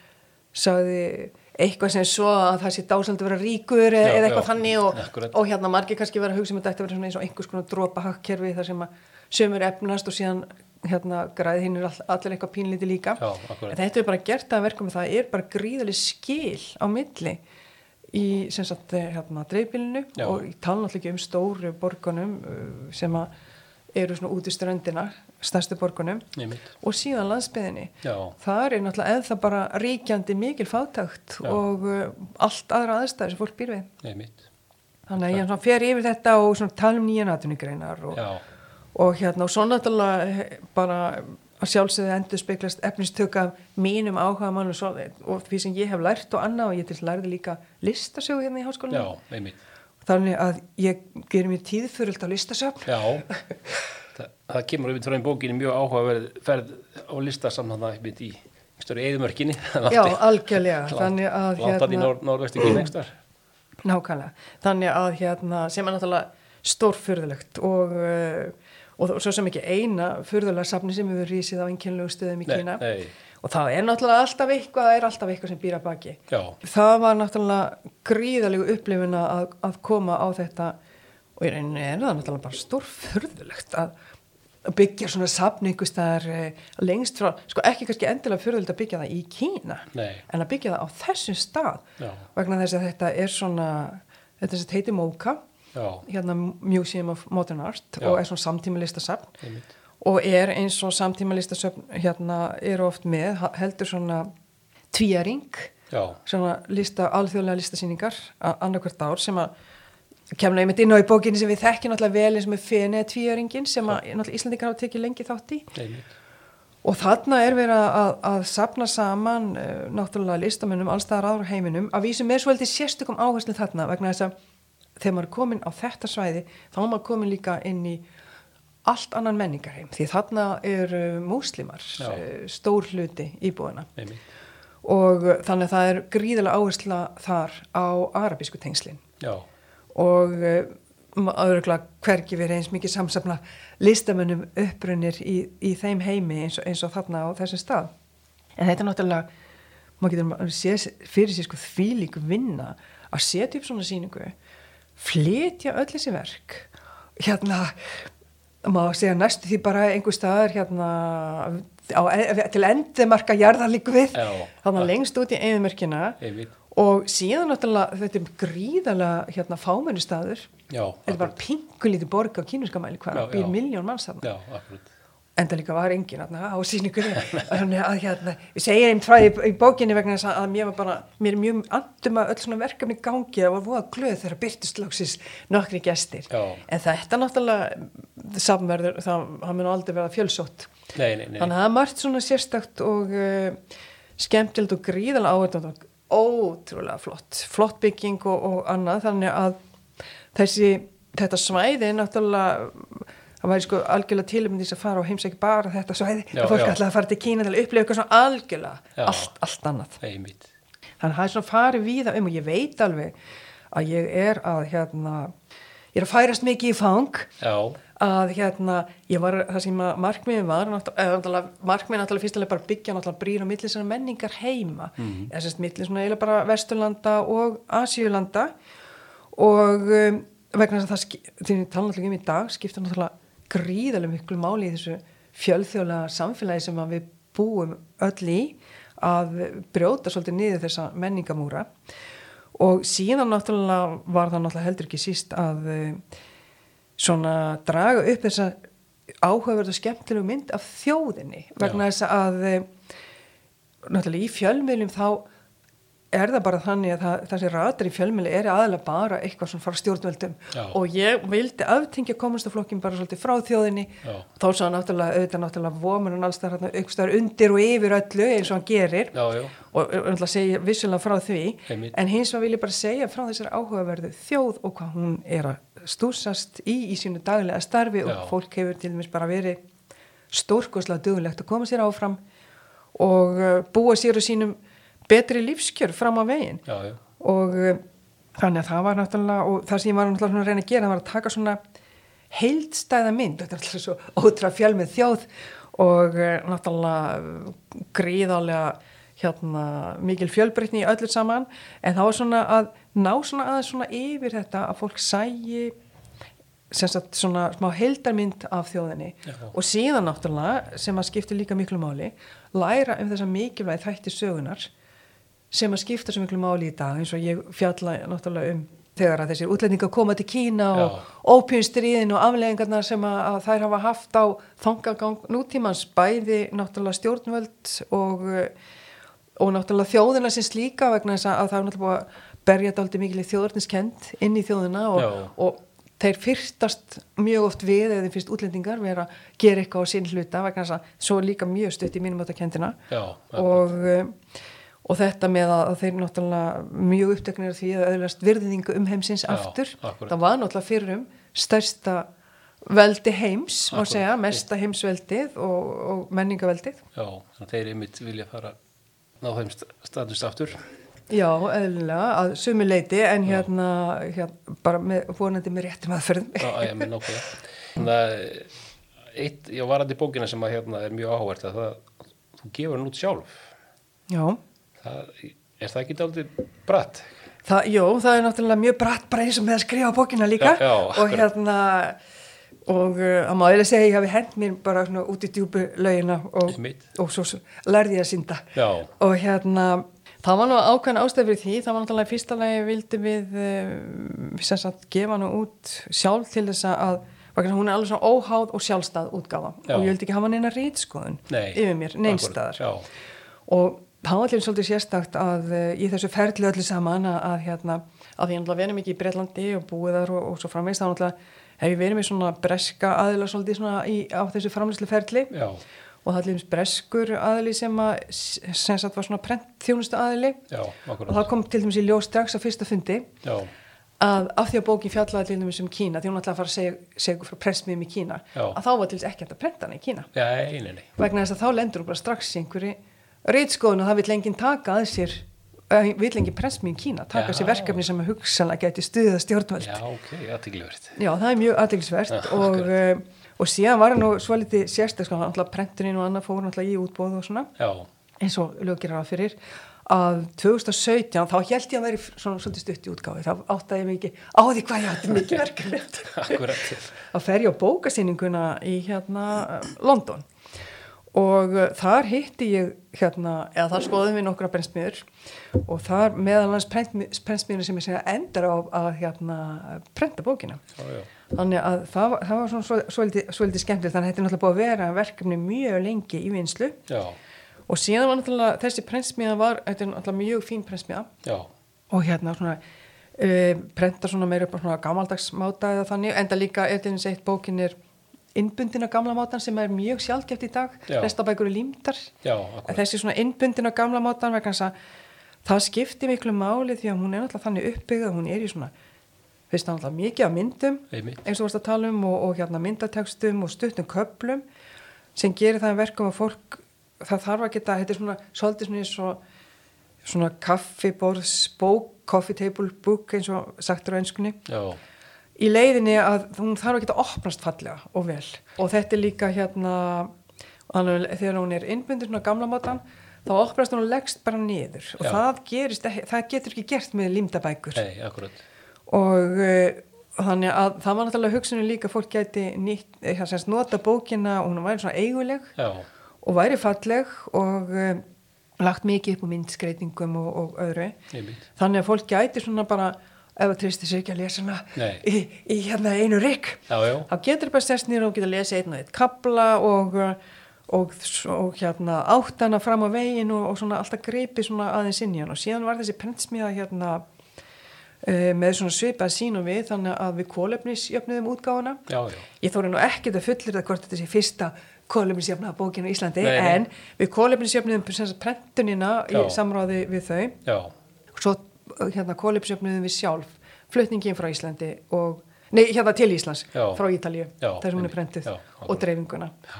sagði eitthvað sem svo að það sé dásaldi að vera ríkur eða,
Já,
eða eitthvað
já,
þannig og,
akkurat.
og hérna margir kannski vera að hugsa um að þetta ætti að vera svona eins og einhvers konar dropa hakkerfi þar sem að sömur efnast og síðan hérna græði hinn all, allir eitthvað pínlíti líka
Já, akkurat.
en þetta er bara gert að verka með það er bara gríðaleg skil á milli í sem sagt eh, hérna dreifbílinu
Já.
og ég tala náttúrulega ekki um stóru borgunum eh, sem að eru svona út í ströndina stærstu borgunum
Einmitt.
og síðan landsbyðinni
Já.
þar er náttúrulega eða það bara ríkjandi mikil fátækt eh,
Já.
og uh, allt aðra aðstæður sem fólk býr við
Nei, mitt.
þannig að ég svona fer yfir þetta og svona tala um nýjan atvinnugreinar og,
Já,
og hérna og svo náttúrulega eh, bara að sjálfsögðu endur speiklast efnistöku af mínum áhuga mann og, svo, og því sem ég hef lært og annað og ég til lærði líka listasögu hérna í háskólinni
já, einmitt.
þannig að ég gerir mér tíðfurult á listasöfn
Já, Þa, það kemur einmitt frá einn bókinni mjög áhugaverð ferð á listasamhanna einmitt í störu eðumörkinni.
Já, algjörlega, þannig að hérna-
Landan í nor norvestu kynni ekstar.
Nákvæmlega, þannig að hérna, sem er náttúrulega stórfurðulegt og, uh, og svo sem ekki eina furðulega safni sem hefur rísið á einkennlegu stöðum í
Nei,
Kína
nei.
og það er náttúrulega alltaf eitthvað, það er alltaf eitthvað sem býr að baki.
Já,
Það var náttúrulega gríðalegu upplifuna að, að koma á þetta og í rauninni er það náttúrulega bara stórfurðulegt að að byggja svona safni einhvers staðar eh, lengst frá, sko ekki kannski endilega furðulegt að byggja það í Kína
Nei.
en að byggja það á þessum stað
Já.
vegna þess að þetta er svona þetta sem sagt heitir MOCA
já,
hérna Museum of Modern Art
Já.
og er svona samtímalistasafn
Einmitt.
og er eins og samtímalistasafn hérna eru oft með ha- heldur svona tvíjaring
já,
svona lista, alþjóðlega listasýningar annarkvært ár sem að kemna einmitt inn á í bókinni sem við þekkjum náttúrulega vel eins og með Fene tvíjöringin sem að náttúrulega Íslandingar hafa tekið lengi þátt í
einmitt.
Og þarna er verið að, að sapna saman uh, náttúrulega listamönnum allstaðar aðra úr heiminum að vísum er svolítið sérstökum áherslu þarna vegna þess að þegar maður er komin á þetta svæði þá er maður komin líka inn í allt annan menningarheim því þarna eru múslimar
Já.
uh, stór hluti íbúðina
einmitt.
og uh, þannig að það er gríðilega áhersla þar á arabísku tengslinn
Já,
og uh, öðruglega hvergi verið eins mikið samsafna listamönnum upprunnir í, í þeim heimi eins og, eins og þarna á þessum stað. En þetta er náttúrulega, maður getur maður séð fyrir sér sko þvílík vinna að setja upp svona síningu, flytja öll þessi verk, hérna, maður segja næstu því bara einhver staðar hérna á, e-, til endemarka jarðarlíku við,
Já.
þannig lengst út í eðumörkina
einmitt.
og síðan náttúrulega þetta er gríðalega hérna fámennu staður
Já,
þetta er bara pinkulítið borg á kínuska mæli
Já,
hvað,
já.
býr miljón manns þarna
Já, akkurat.
en það líka var engin hérna, á síningunni þannig að hérna, ég segi þeim frá í, í bókinni vegna þess að, að mér var bara mér er mjög andum að öll svona verkefni gangi það var voða glöð þegar byrtist lóksins nokkri gestir,
Já.
en þetta náttúrulega samverður, það, það mun aldrei verða fjölsótt
Nei, nei, nei.
þannig að það er margt svona sérstakt og uh, skemmtilegt og gríðalega áhættan og ótrúlega flott flott bygging og, og annað þannig að þessi þetta svæði er náttúrulega það væri sko algjörlega tiluminn þess að fara og heimsækja bara þetta svæði
Já,
að fólk
já.
ætlaði að fara til Kína til að upplifa eitthvað svona algjörlega
Já.
allt, allt annað
Einmitt.
þannig að það er svona farið víða um og ég veit alveg að ég er að hérna ég er að færast mikið í fang
Já,
að hérna, ég var, það sem að markmiðin var, náttú- eða náttúrulega markmiðin náttúrulega fyrst alveg bara byggja náttúrulega brýr á milli svona menningar heima, eða sérst milli svona eiginlega bara Vesturlanda og Asíulanda og um, vegna þess að það, ski- því við tala náttúrulega um í dag, skipta náttúrulega gríðarlega miklu máli í þessu fjölþjóðlega samfélagi sem að við búum öll í að brjóta svolítið niður þessa menningamúra og síðan náttúrulega var það náttúrulega heldur ekki síst að eh, svona draga upp þessa áhugaverð og skemmtilegu mynd af þjóðinni vegna
Já.
þess að eh, náttúrulega í fjölmiðlum þá er það bara þannig að það, þessi ratar í fjölmiðli er aðalega bara eitthvað svona frá stjórnvöldum
Já.
og ég vildi aftengja komastaflokkin bara svolítið frá þjóðinni
Já.
þá svo hann náttúrulega auðvitað náttúrulega vomunum alls þar hérna aukstaðar undir og yfir öllu eins og hann gerir
já, já.
og og náttúrulega segja vissulega frá því
Einmitt.
en hins vegar vil ég bara segja frá þessari áhugaverðu þjóð og hvað hún er að stúsast í í sínu daglega starfi
Já.
og fólk hefur til dæmis bara verið stórkoslega dugulegt að koma sér áfram og uh, búa sér og sínum betri lífskjör fram á veginn
Já, já.
og uh, þannig að það var náttúrulega og það sem ég var náttúrulega svona að reyna að gera var að taka svona heildstæða mynd þetta er alltaf svo ótrúlega fjölmið þjóð og uh, náttúrulega uh, gríðarlega hérna mikil fjölbreytni í öllu saman en það var svona að ná svona aðeins svona yfir þetta að fólk sægi sem sagt svona smá heildarmynd af þjóðinni
Já.
og síðan náttúrulega sem að skipti líka miklu máli læra um þessa mikilvæg þætti sögunar sem að skipta svo miklu máli í dag eins og ég fjalla náttúrulega um þegar að þessir útlendingar koma til Kína og
Já.
ópjumstriðin og afleðingarnar sem að, að þær hafa haft á þangagang nútímans bæði náttúrulega stjórnvöld og, eh, og náttúrulega þjóðina sem slíka vegna þess að, að það er náttúrulega búið að berja dálítið mikil í þjóðarniskend inn í þjóðina
Já.
og, og þeir fyrtast mjög oft við eða þeir fyrst útlendingar vera að gera eitthvað á sinn hluta vegna þess að svo er líka mjög stutt í mínum áttakendina
Já,
og, eh, og þetta með að, að þeir náttúrulega mjög uppteknir af því að öðlast virðingu um heimsins
Já,
aftur
akkúrat.
það var náttúrulega fyrir um stærsta veldi heims má
Akkúrat.
segja, mesta heimsveldið og, og menningaveldið
já, þannig að þeir einmitt vilja fara ná þeim staðnist aftur
Já, eðlilega, að sumu leiti en hérna, hérna bara með, vonandi með réttum aðferðum
Já, já, með nákvæmlega. Þannig að eitt, já, varandi bókina sem að hérna er mjög áhvert að það, þú gefur hann út sjálf.
Já,
Það, er það ekki daldið bratt?
það, jó, það er náttúrulega mjög bratt bara eins og með að skrifa bókina líka
Já, já,
og
akkurat.
hérna og uh, að maður eða segja að ég hafi hent mér bara svona, út í djúpu laugina og,
Einmitt.
og svo, svo lærði ég að synda
Já.
og hérna það var nú ákveðin ástæð fyrir því það var náttúrulega í fyrsta lagi vildi við uh, sem sagt gefa hann út sjálf til þess að vegna hún er alveg svona óháð og sjálfstæð útgáfa
Já.
og ég vildi ekki hafa neina rýtskoðun
Nei.
yfir mér,
Akkúrat,
neinstæðar og það var allir svolítið sérstakt að eh, í þessu ferli öllu saman að, að hérna, að ég náttúrulega verið mikið í Breitlandi og búið þar og, og svo framvegst þá náttúrulega hef ég verið með svona breska aðila svolítið svona í, á þessu framlýslu ferli
Já, já,
og það er allir breskur aðili sem að sem sagt var svona prent þjónustu aðili
já,
og það
akkurat.
kom til dæmis í ljós strax á fyrsta fundi
Já,
að af því að bókin fjallaði til dæmis um Kína því hún ætlaði að fara að segja, segja ykkur frá pressmiðum í Kína
Já.
að þá var til dæmis ekki hægt að prenta hana í Kína
já, einu, nei.
vegna þess að þá lendur hún bara strax í einhverju reytskóðun og það vill enginn taka að sér eh, vill enginn pressmi í Kína taka
Já.
sér verkefni sem að hugsanlega geti stuðið stjórnvöld
Já, ok, aðtíkilvægt.
Já, það er mjög aðdeglisvert
Já,
og, uh, og síðan var hann nú svo litið sérstak sko, náttúrulega prentunin og annað fór náttúrulega í útbóð og svona,
Já,
eins og lögir hann fyrir að 2017 þá held ég að veri svona svolítið stutt í útgáfi þá áttaði ég mikið á því hvað ég átti mikið verkefni eftir.
akkurat.
að fer ég á bókasýninguna í hérna eh, London og eh, þar hitti ég hérna, eða þar skoðum við nokkra brennsmiður og þar meðal hans brennsmiður sem ég segja endar á að hérna prenta bókina
Já, já,
þannig að það, var- það var svona svo- svolítið, svolítið skemmtilegt þannig að þetta er náttúrulega búið að vera verkefni mjög lengi í vinslu
já,
og síðan var náttúrulega þessi prentsmiða var, þetta er náttúrulega mjög fín prentsmiða
já,
og hérna svona uh, prenta svona meira upp á svona gamaldagsmáta eða þannig, enda líka eðlins eitt bókin er innbundin á gamla mátan sem er mjög sjálfgeft í dag,
Já.
restabækur er límdar
já,
en
akkurat.
þessi svona innbundin á gamla mátan vegna þess að það skipti miklu máli því að hún er náttúrulega þannig uppbyggð að hún er í svona, veist það náttúrulega mikið af myndum
Einmitt,
eins og varst að tala um og, og hérna myndatekstum og stuttum köplum sem gerir það að verkum að fólk það þarf að geta, þetta er svona svolítið svona eins og svona kaffiborðs bók, coffee table book eins og sagtur á ennskunni
já,
í leiðinni að hún þarf að geta opnast fallega og vel og þetta er líka hérna þannig að þegar hún er innbundin svona á gamla mátan þá opnast hún og leggst bara niður og
Já.
það, gerist, ekki- það getur ekki gert með límdabækur
nei, akkurat.
og uh, þannig að það var náttúrulega hugsunum líka að fólk gæti nýtt, eh, sem sagt, nota bókina og hún væri svona eiguleg
Já,
og væri falleg og uh, lagt mikið upp á myndskreitingum og, og öðru
einmitt,
þannig að fólk gæti svona bara ef það tristir sér ekki að lesa hana
Nei.
í, í hérna einu rygg
já, já,
þá getur bara sérst nýra og geta að lesa einn og einn kabla og, uh, og, og hérna áttana fram á veginn og, og svona alltaf greipi svona aðeins inn í hann og síðan var þessi prentsmiða hérna eh, með svona svipað sín og við þannig að við kólefnisjöfnuðum útgáfuna
já, já,
ég þóri nú ekkert að fullir það hvort þetta sé fyrsta kólefnisjöfnaða bókin á Íslandi
Nei, nei.
en við kólefnisjöfnuðum sem sagt prentunina í
Já.
samráði við þau
já,
svo hérna kólipsjöfnuðum við sjálf flutningin frá Íslandi og nei, hérna til Íslands,
Já.
frá Ítalíu
Já,
þar sem hún
einmitt.
er prentuð
Já,
og
akkurat.
dreifinguna
já,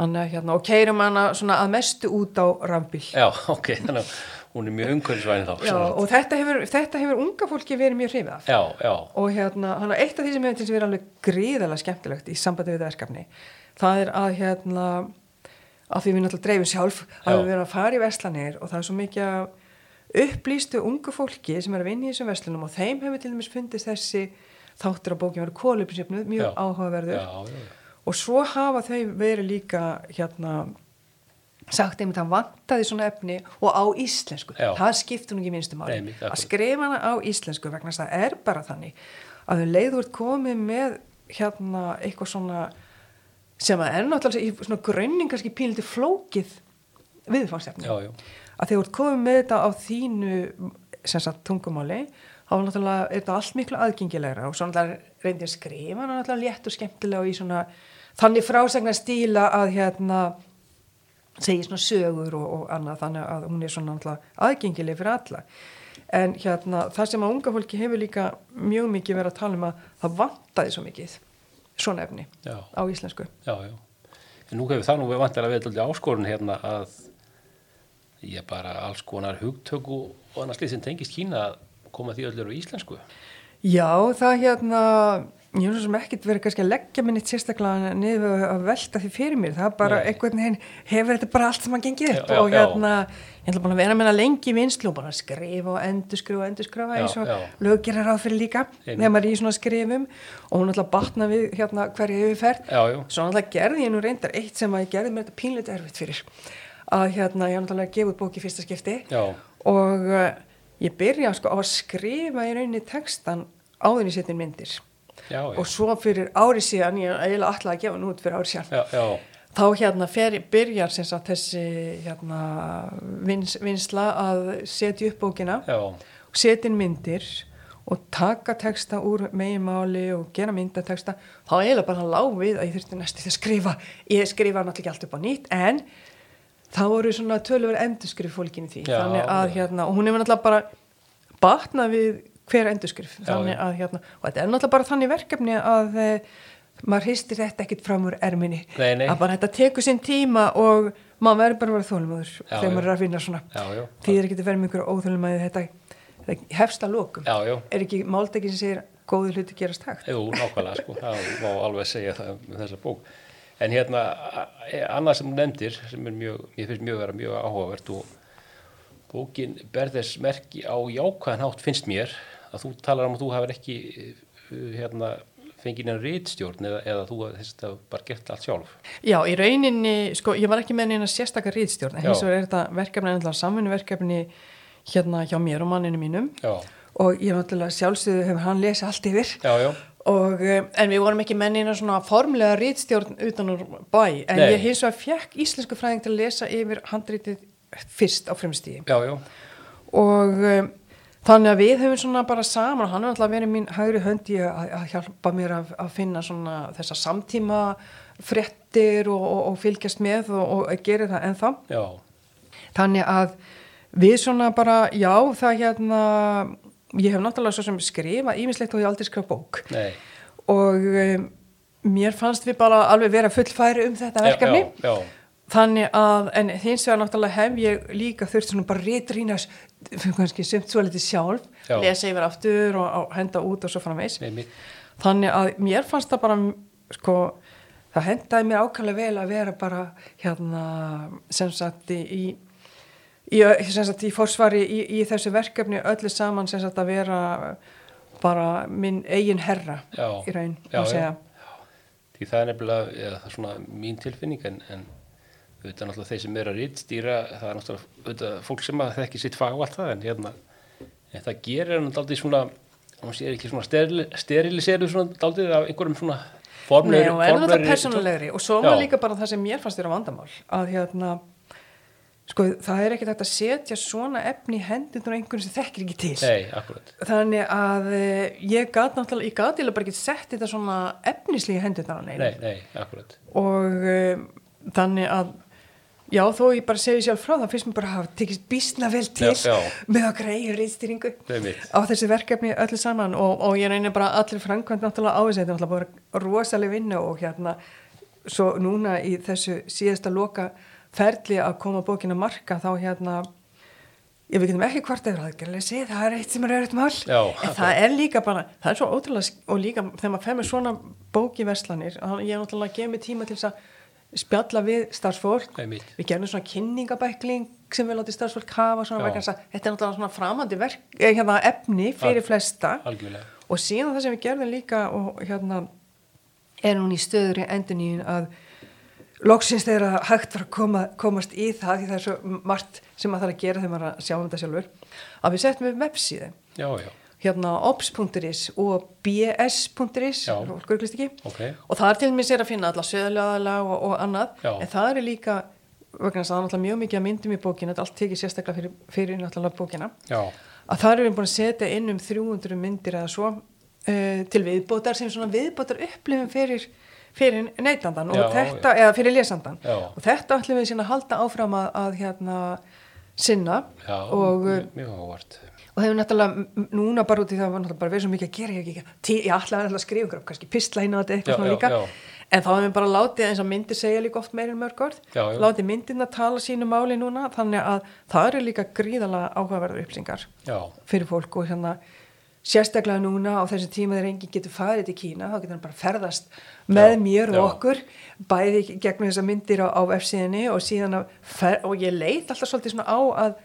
Þannig, að, hérna, og keirum hana svona að mestu út á rambíl
já, ok, þannig að hún er mjög umhverfisvæðin þá.
Já, og þetta hefur, þetta hefur unga fólki verið mjög hrifið af
Já, já,
og hérna, hana, eitt af því sem hefur til þess að vera alveg gríðalega skemmtilegt í sambandi við þetta verkefni það er að hérna að því við náttúrulega dreifum sjálf
Já.
að við verðum að fara í veslanir og það er svo mikið af upplýstu ungu fólki sem er að vinna í þessum veslunum og þeim hefur til dæmis fundist þessi þáttur á bókjum verið kólupinsjöfnu mjög
Já. já,
áhugaverður
já,
og svo hafa þau verið líka hérna sagt einmitt að vantaði svona efni og á íslensku,
Já.
það skiptir hún ekki minnstu máli,
Nei, einmitt,
að
akkurat.
skrifa hana á íslensku vegna þess að það er bara þannig að um þau leiður komið með hérna eitthvað svona sem að er náttúrulega í svona grönning kannski pínlítið flókið viðfangsefni
já, já,
að þegar þú ert komið með þetta á þínu sem sagt tungumáli þá var náttúrulega er þetta allt miklu aðgengilegra og svo náttúrulega reyndi ég að skrifa hann náttúrulega létt og skemmtilega og í svona þannig frásegna stíla að hérna segi svona sögur og, og annað þannig að hún er svona náttúrulega aðgengileg fyrir alla en hérna það sem að unga fólki hefur líka mjög mikið verið að tala um að það vantaði svo mikið svona efni
Já.
á íslensku
Já, já. En nú hefur það nú vantar að við þetta áskorun hérna að ég bara alls konar hugtöku og annars lið sem tengist Kína að koma því öllur á íslensku.
Já, það hérna, ég er nú sem ekkert verið kannski að leggja minni sérstaklega niður við að velta því fyrir mér, það er bara
Nei.
einhvern veginn, hefur þetta bara allt sem að gengi upp
Já, já,
og
já.
hérna, ég ætla bara að vera meina lengi í vinslu og bara skrifa og endurskrifa og endurskrifa
Já,
eins og
já.
löggerar ráð fyrir líka,
Einmitt.
þegar maður er í svona skrifum og hún ætla að batna við hérna hverju yfirferð
Já, já.
Svo náttúrulega gerði ég nú reyndar eitt sem að ég gerði mér þetta pínleita erfitt fyrir. Að hérna, ég var náttúrulega að gefa út bók í fyrsta skipti
Já.
og uh, ég byrja sko á að skrifa í rauninni textan áður en ég setja inn myndir.
Já, já.
Og svo fyrir ári síðan, ég er eiginlega alltaf að gefa hann út fyrir ári síðan,
Já, já.
þá hérna fer, byrjar sem sagt þessi hérna, vins, vinsla að setja upp bókina
Já,
og setja inn myndir og taka texta úr meginmáli og gera myndateksta, þá er eiginlega bara lág við að ég þurfti næstu því að skrifa ég skrifa náttúrulega ekki allt upp á nýtt en þá voru svona tölur endurskrif fólkin í því,
Já,
þannig að
já.
hérna og hún hefur náttúrulega bara batnað við hver endurskrif,
Já,
þannig
já.
að hérna og þetta er náttúrulega bara þannig verkefni að eh, maður hristir þetta ekkit fram úr erminni
Nei, nei.
að bara þetta tekur sinn tíma og maður verður bara að vera þólumöður
Já,
þegar
já.
maður er að vinna svona
Já, já.
því er ekki að vera með einhverja óþjóðlumæði þetta, þetta hefst að lokum
já, já.
er ekki máltækin sem segir góði hluti gerast hægt
Jú, nákvæmlega, sko. Það má alveg segja það um þessa bók. En hérna, a- annað sem hún nefndir, sem er mjög, ég finnst mjög vera mjög áhugavert og bókin ber þess merki á jákvæðan hátt finnst mér að þú talar um að þú hafir ekki eh, hérna, fengið neina rítstjórn eða, eða þú hafir þess að bara gert allt sjálf.
Já, í rauninni, sko, ég var ekki með neina sérstakar rýðstjórn,
Já.
hins vegar er þetta verkefni ennlega samfunniverkefni hérna hjá mér og manninu mínum
Já,
og ég náttúrulega sjálfsögðu hefur hann lesið allt yfir
já, já,
og, eh, en við vorum ekki með neina svona formlega rýðstjórn utan úr bæ en
Nei.
ég hins vegar fekk íslensku fræðing til að lesa yfir handrítið fyrst á fremstíði
já, já,
og um, þannig að við höfum svona bara saman og hann er alltaf verið mín hægri hönd í að, að hjálpa mér að, að finna svona þessa samtíma fréttir og, og, og fylgjast með og, og að gera það ennþá
já,
þannig að við svona bara, já það hérna ég hef náttúrulega svo sem skrifa ímislegt og ég hef aldrei skrifa bók
nei,
og um, mér fannst við bara alveg vera fullfæri um þetta
Já,
verkefni
já, já.
þannig að, en hins vegar náttúrulega hef ég líka þurft svona bara rétrýna kannski sumt svo litið sjálf
Já.
lesa yfir aftur og, og henda út og svo framvegs
nei, mitt,
þannig að mér fannst það bara sko, það hendaði mér ákvæmlega vel að vera bara hérna sem sagt í í, í, sem sagt, í forsvari í, í þessu verkefni öllu saman sem sagt að vera bara minn eigin herra
já.
í raun
já,
og
já.
segja
Því það er nefnilega, eða það er svona mín tilfinning en, en auðvitað náttúrulega þeir sem eru að rittstýra, það er náttúrulega auðvitað, fólk sem að þekki sitt fag og allt það en hérna, en það gerir hann daldið svona, hún sé ekki svona steril, steriliseru svona daldið af einhverjum svona
Nei,
formlegri
og er náttúrulega persónulegri og svo
Já.
var líka bara það sem mér fannst þér á vandamál að hérna sko það er ekkert hægt að setja svona efni í hendunum á einhvern sem þekkir ekki til
Nei, akkurat,
þannig að eh, ég gat náttúrulega ég gat eiginlega bara ekki sett þetta svona efnislega hendunum á neina
nei, nei, akkurat
og um, þannig að já þó ég bara segi sjálf frá það finnst mér bara að hafa tekist býstna vel til
Já, já.
með að greiða reyðstýringu
Einmitt.
á þessi verkefni öllu saman og, og ég reynir bara allir framkvæmt náttúrulega á þessi þetta er náttúrulega bara rosaleg vinna og hérna svo núna í þessu síðasta loka ferli að koma bókin að marka þá hérna ég við getum ekki hvart eður aðgerðleysi það er eitt sem er auðvitað mál
Já,
en það er líka bara, það er svo ótrúlega sk- og líka þegar maður fer með svona bók í verslanir þá- ég er náttúrulega að gefa mig tíma til þess að spjalla við starfsfólk
Einmitt.
við gerum svona kynningabækling sem við látið starfsfólk hafa svona
Já.
vegna þess að þetta er náttúrulega svona framandi verk, eh, hérna, efni fyrir
Al-
flesta
algjörlega.
og síðan það sem við gerðum líka og hérna er hún í stöður í enduníun að loksins þegar að hægt var að koma, komast í það því það er svo margt sem maður þarf að gera þegar maður er að sjá um þetta sjálfur að við settum upp websíðu
Já, já,
hérna ops.is og bs.is
Já.
fólk örugglega ekki.
Ok.
og það er til mér sér að finna alla söðlega og, og annað
Já.
en það er líka vegna þess að það er náttúrulega mjög mikið að myndum í bókina þetta er allt tekið sérstaklega fyrir, fyrir náttúrulega bókina
já,
að þar erum við búin að setja inn um 300 myndir eða svo uh, til viðbótar sem svona viðbótar upplifum fyrir, fyrir neytandan og
Já,
þetta, eða fyrir lesandan
Já.
og þetta ætlum við síðan að halda áfram að, að hérna sinna
Já,
og uh,
mjög- mjög ávart.
og hefur náttúrulega m- núna bara út í það var náttúrulega bara verið svo mikið að gera ég ekki tí, ég ætlaði náttúrulega að skrifa ykkur, kannski pistla hérna á þetta eitthvað
Já,
svona
já,
líka
já.
en þá hefum við bara látið eins og myndir segja líka oft meira en mörg orð
Já, já.
látið myndirna tala sínu máli núna þannig að það eru líka gríðalega áhugaverður upplýsingar
Já,
fyrir fólk og hérna sérstaklega núna á þessu tíma þegar enginn getur farið til Kína þá getur hann bara ferðast með
Já,
mér og
já.
okkur bæði gegnum þessar myndir á, á F-síðinni og síðan að fer, og ég leit alltaf svolítið svona á að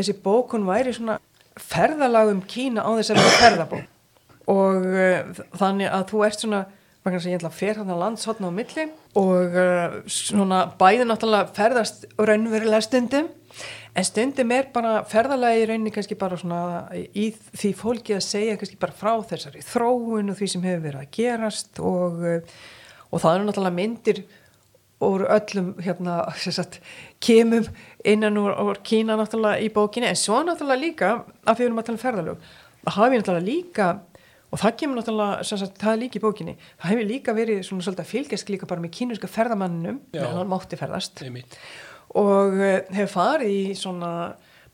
þessi bók hún væri svona ferðalag um Kína á þess að vera ferðabók og uh, þannig að þú ert svona vegna þess að ég ætla að fer þarna lands hotna á milli og uh, svona bæði náttúrulega ferðast raunverulega stundum en stundum er bara ferðalagi í rauninni kannski bara svona í því fólki að segja kannski bara frá þessari þróun og því sem hefur verið að gerast og, uh, og það eru náttúrulega myndir úr öllum hérna sem sagt, kemum innan úr, úr Kína náttúrulega í bókinni en svo náttúrulega líka af því við erum að tala um ferðalög það hafi náttúrulega líka og það kemur náttúrulega, sem sagt, það er líka í bókinni það hefur líka verið svona svolítið að fylgjast líka bara með kínuska ferðamannum
Já.
meðan hann mátti ferðast
einmitt.
og eh, hef farið í svona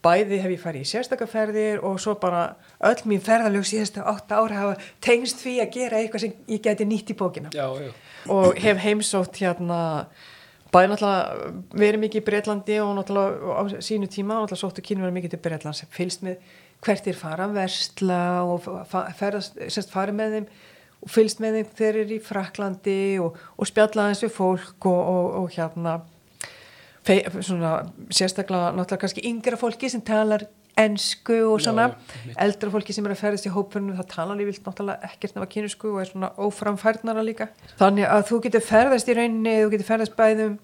bæði hef ég farið í sérstakaferðir og svo bara öll mín ferðalög síðasta átta ára hafa tengst því að gera eitthvað sem ég geti nýtt í bókina
Já, já.
og hef heimsótt hérna bæði náttúrulega verið mikið í Breitlandi og náttúrulega á sínu tíma og náttúrulega sóttu kynverið mikið til Breitland sem fylgst með hvert þeir fara að versla og fa- ferðast, sérst farið með þeim og fylgst með þeim þegar þeir eru í Fraklandi og, og spjalla aðeins við fólk og, og, og hérna fe, svona, sérstaklega náttúrulega kannski yngra fólki sem talar ensku og
Já,
svona
einmitt.
eldra fólki sem er að ferðast í hópunum það talar lífilt náttúrulega ekkert nema kynisku og er svona óframfærnara líka þannig að þú getur ferðast í rauninni þú getur ferðast bæðum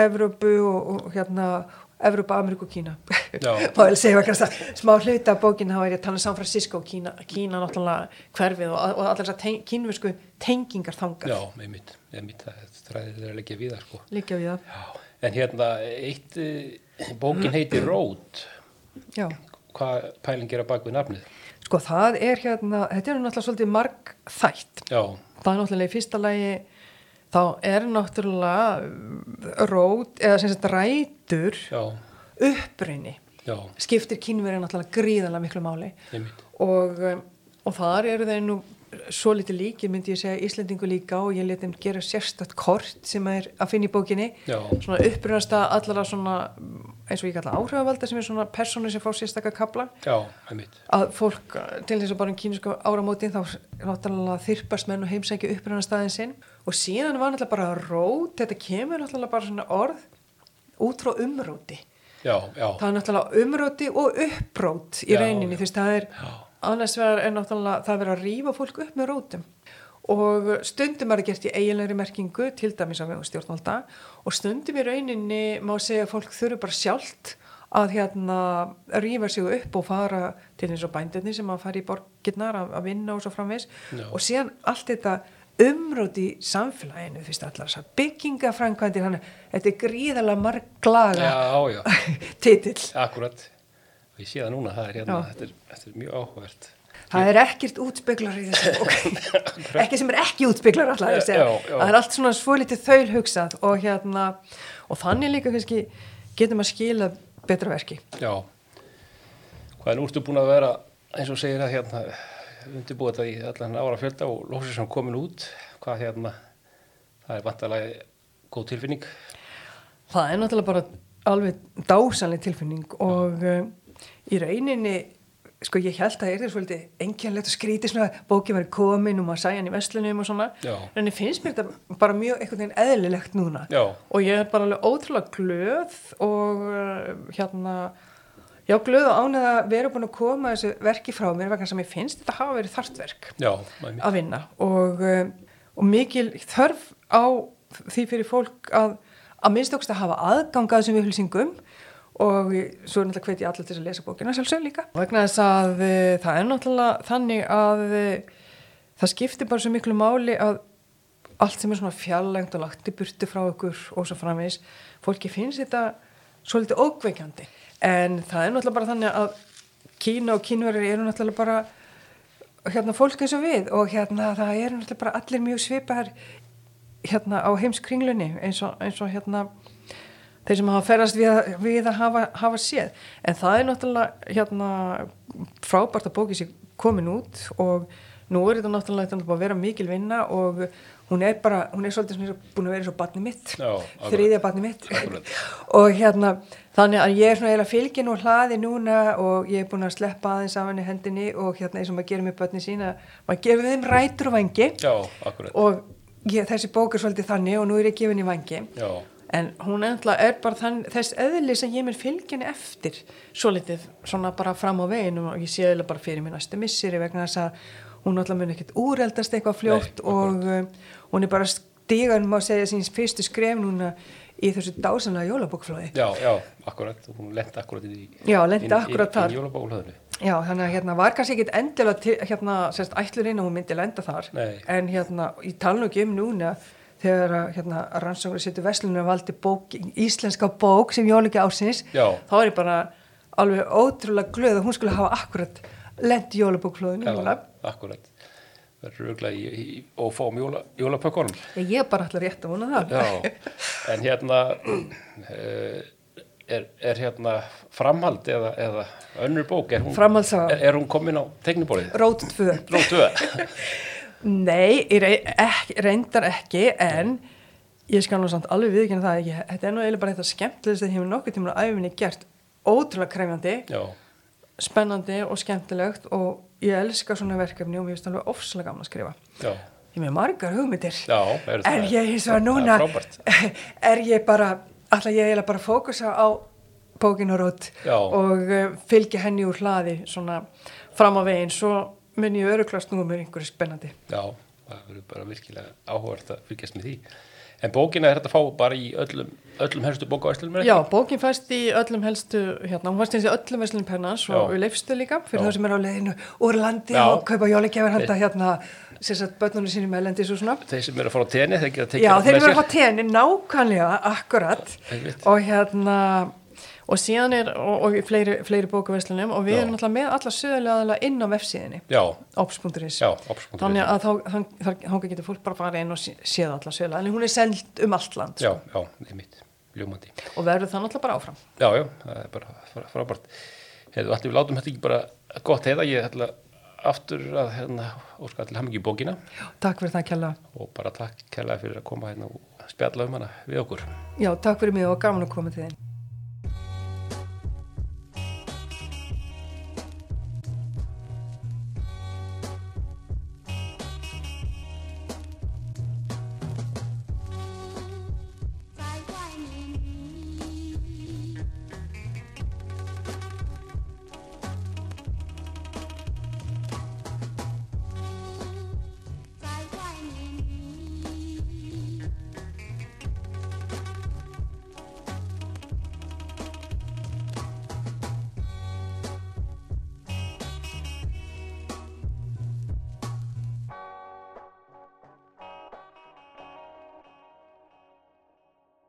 Evrópu og, og hérna Evrópa, Ameríku og Kína
Já.
má vel segja kannski að smá hluta af bókin þá er ég að tala um San Francisco og Kína Kína náttúrulega hverfið og, og allar þessar teng, kínversku tengingar þangar
Já, einmitt, einmitt, það er þræðið er að leggja við það, sko.
líka við það,
Já, en hérna, eitt, eh, bókin heitir Rót,
já
hvað pæling er að bak við nafnið?
Sko það er hérna, þetta er nú náttúrulega svolítið marg þætt.
Já,
Það er náttúrulega í fyrsta lagi, þá er náttúrulega rót eða sem sagt rætur
já,
upprunni.
já,
Skiptir kínverið náttúrulega gríðanlega miklu máli
einmitt,
og, um, og þar eru þeir nú svo litið líkir myndi ég segja Íslendingu líka og ég leti þeim gera sérstætt kort sem er að finna í bókinni
Já.
svona upprunasta allara svona eins og ég kalla áhrifavalda sem er svona persónu sem fá sérstakka kapla
já, einmitt,
að fólk eh, til þess að bara um kínuska áramótin þá s- náttúrulega þyrpast menn og heimsækja uppröðan staðin sinn og síðan var náttúrulega bara rót, þetta kemur náttúrulega bara svona orð út frá umróti.
já, já,
Það er náttúrulega umróti og upprót í
Já,
rauninni,
já.
þú veist, það er
Já.
annars vegar er náttúrulega það er verið að rífa fólk upp með rótum og stundum er það gert í eiginlegri merkingu, til dæmis á vegum stjórnvalda og stundum í rauninni má segja að fólk þurfi bara sjálft að hérna rífa sig upp og fara til eins og bændinni sem að fara í borginnar að, að vinna og svo framvegs
Já.
og síðan allt þetta umróti í samfélaginu, fyrst allar þessar byggingafrænkvæmdir, þannig að þetta er gríðalega marglaga
já, já,
titill
akkurat, ég sé það núna, það er hérna,
Já.
þetta er, þetta er mjög áhugavert.
Það er ekkert útspeglar í þessu bók. ekki sem er ekki útspeglar alltaf þessi.
Já, já.
Það er allt svona svolítið þaul hugsað og hérna og þannig líka kannski getum að skila betra verki.
Já, hvað er úrstu búin að vera, eins og segir að hérna, undirbúið þetta í allan ára fjölda og lóksins hann komin út, hvað hérna, það er vantalega góð tilfinning.
Það er náttúrulega bara alveg dásanlega tilfinning og uh, í rauninni sko ég held að það er þér svolítið engjanlegt að skríti svona að bókin var komin og maður sæja hann í vestlunum og svona
Já.
en ég finnst mér þetta bara mjög einhvern veginn eðlilegt núna
Já.
og ég er bara alveg ótrúlega glöð og uh, hérna já glöð og ánægð að vera búin að koma þessu verki frá mér vegna sem ég finnst þetta hafa verið þartverk
Já, mæmi.
að vinna og, um, og mikil þörf á því fyrir fólk að að minnstokst að hafa aðgang að þessum upplýsingum og svo er náttúrulega hveit ég allir til þess að lesa bókina sjálfsög líka vegna þess að e, það er náttúrulega þannig að e, það skiptir bara svo miklu máli að allt sem er svona fjarlægt og lagt í burtu frá okkur og svo framvegis fólki finnst þetta svolítið ókveikjandi en það er náttúrulega bara þannig að Kína og kínverðir eru náttúrulega bara hérna fólk eins og við og hérna það eru náttúrulega bara allir mjög svipar hérna á heimskringlunni eins og, eins og hérna þeir sem hafa ferast við, að- við að hafa, hafa séð en það er náttúrulega hérna, frábært að bókið sér komin út og nú er þetta náttúrulega þetta er bara að vera mikil vinna og hún er bara, hún er svolítið svona búin að vera eins og barni mitt,
Já, akkurat.
þriðja barni mitt
Akkurat.
og hérna þannig að ég er svona eiginlega fylgin og hlaði núna og ég er búin að sleppa aðeins af henni hendinni og hérna eins og maður gerir með börni sína maður gefur þeim rætur og vangi
Já, akkurat.
og ég, þessi bók er svolítið þannig og nú er ég gefin í vangi
Já,
en hún endla er bara þann, þess eðli sem ég mun fylgjani eftir svolítið svona bara fram á veginn og ég sé eða bara fyrir mér næstu misseri vegna þess að hún náttúrulega mun ekkert úreldast eitthvað fljótt
Nei,
og uh, hún er bara stígan má segja síns fyrstu skref núna í þessu dásanlega jólabókflóði
já, já, akkurat. Hún lendi akkurat inn í...
Já, lenti
inn-
akkúrat þar.
Inn í jólabólaðinu.
Já, þannig að hérna var kannski ekkit endilega til, hérna, sérst, ætlurinn að hún myndi lenda þar,
Nei.
en hérna, ég tala nú ekki um núna þegar að, hérna, rannsóknir setur Veslunar valdi bók, íslenska bók sem jóliki ásins,
Já.
þá er ég bara alveg ótrúlega glöð að hún skulle hafa akkurat lent í jólabókflóðinu núna.
Já, akkurat. Verður auðvitað í, í, og fáum jóla, jólapökkunum.
Ég er bara alltaf rétt að vona það.
Já, en hérna eh, er, er hérna framhald eða, eða önnur bók, er hún,
Framhaldssaga.
er, er hún komin á tegnibólið?
Rót 2.
Rótu
Nei, ég rey- ekki, reyndar ekki, en ég skal nú samt alveg viðkynna það ekki. Þetta er nú eiginlega bara þetta skemmtilegst að ég hefur nokkuð tíma á æfinni gert ótrúlega krefjandi,
Já,
spennandi og skemmtilegt og ég elska svona verkefni og mér finnst alveg ofslega gaman að skrifa.
já,
Ég er með margar hugmyndir.
já, er
En ég hins vegar núna,
Það er frábært,
er ég bara, alltaf ég eiginlega bara að fókusa á bókin og rót
Já.
og uh, fylgja henni úr hlaði svona fram á veginn, svo mun ég öruglast nú mér einhverju spennandi.
já, það verður bara virkilega áhugavert að fylgjast með því. En bókina er þetta að fá bara í öllum, öllum herstu bókavæslunum? er ekki?
Já, bókin fæst í öllum helstu, hérna, hún fæst eins í öllum verslunum pennans og
Já.
við leifstu líka fyrir
Já.
þá sem er á leiðinu úr landi
Já.
og kaupa jólagjafir handa hérna, sem sagt, börnunum sínum meðlendis og svona.
Þeir sem eru að fara á tenni, þeir geta tekið
Já,
það
þeir
með
eru að
sér.
fá tenni nákvæmlega, akkurat
Einmitt.
og hérna og síðan er, og, og í fleiri, fleiri bókaverslunum og við
Já.
erum alltaf með alla sögulega aðalega inn á vefsíðinni,
Já,
ops.is
já, absolutt.
þannig að þá, þann, þar, þá getur fólk bara að fara inn og sé- séð alla sögulega, en hún er seld um allt land
Já, já, einmitt, ljómandi.
og verður það alltaf bara áfram
Já, já, það er bara fra- frábært. Hefðu allir við látum þetta ekki bara gott heiða, ég ætla aftur að hérna óska allir hamingi í bókina
Takk fyrir það kjalla,
og bara takk kærlega fyrir að koma hérna og spjalla um hana við okkur.
já, takk fyrir mig og gaman að koma til þinn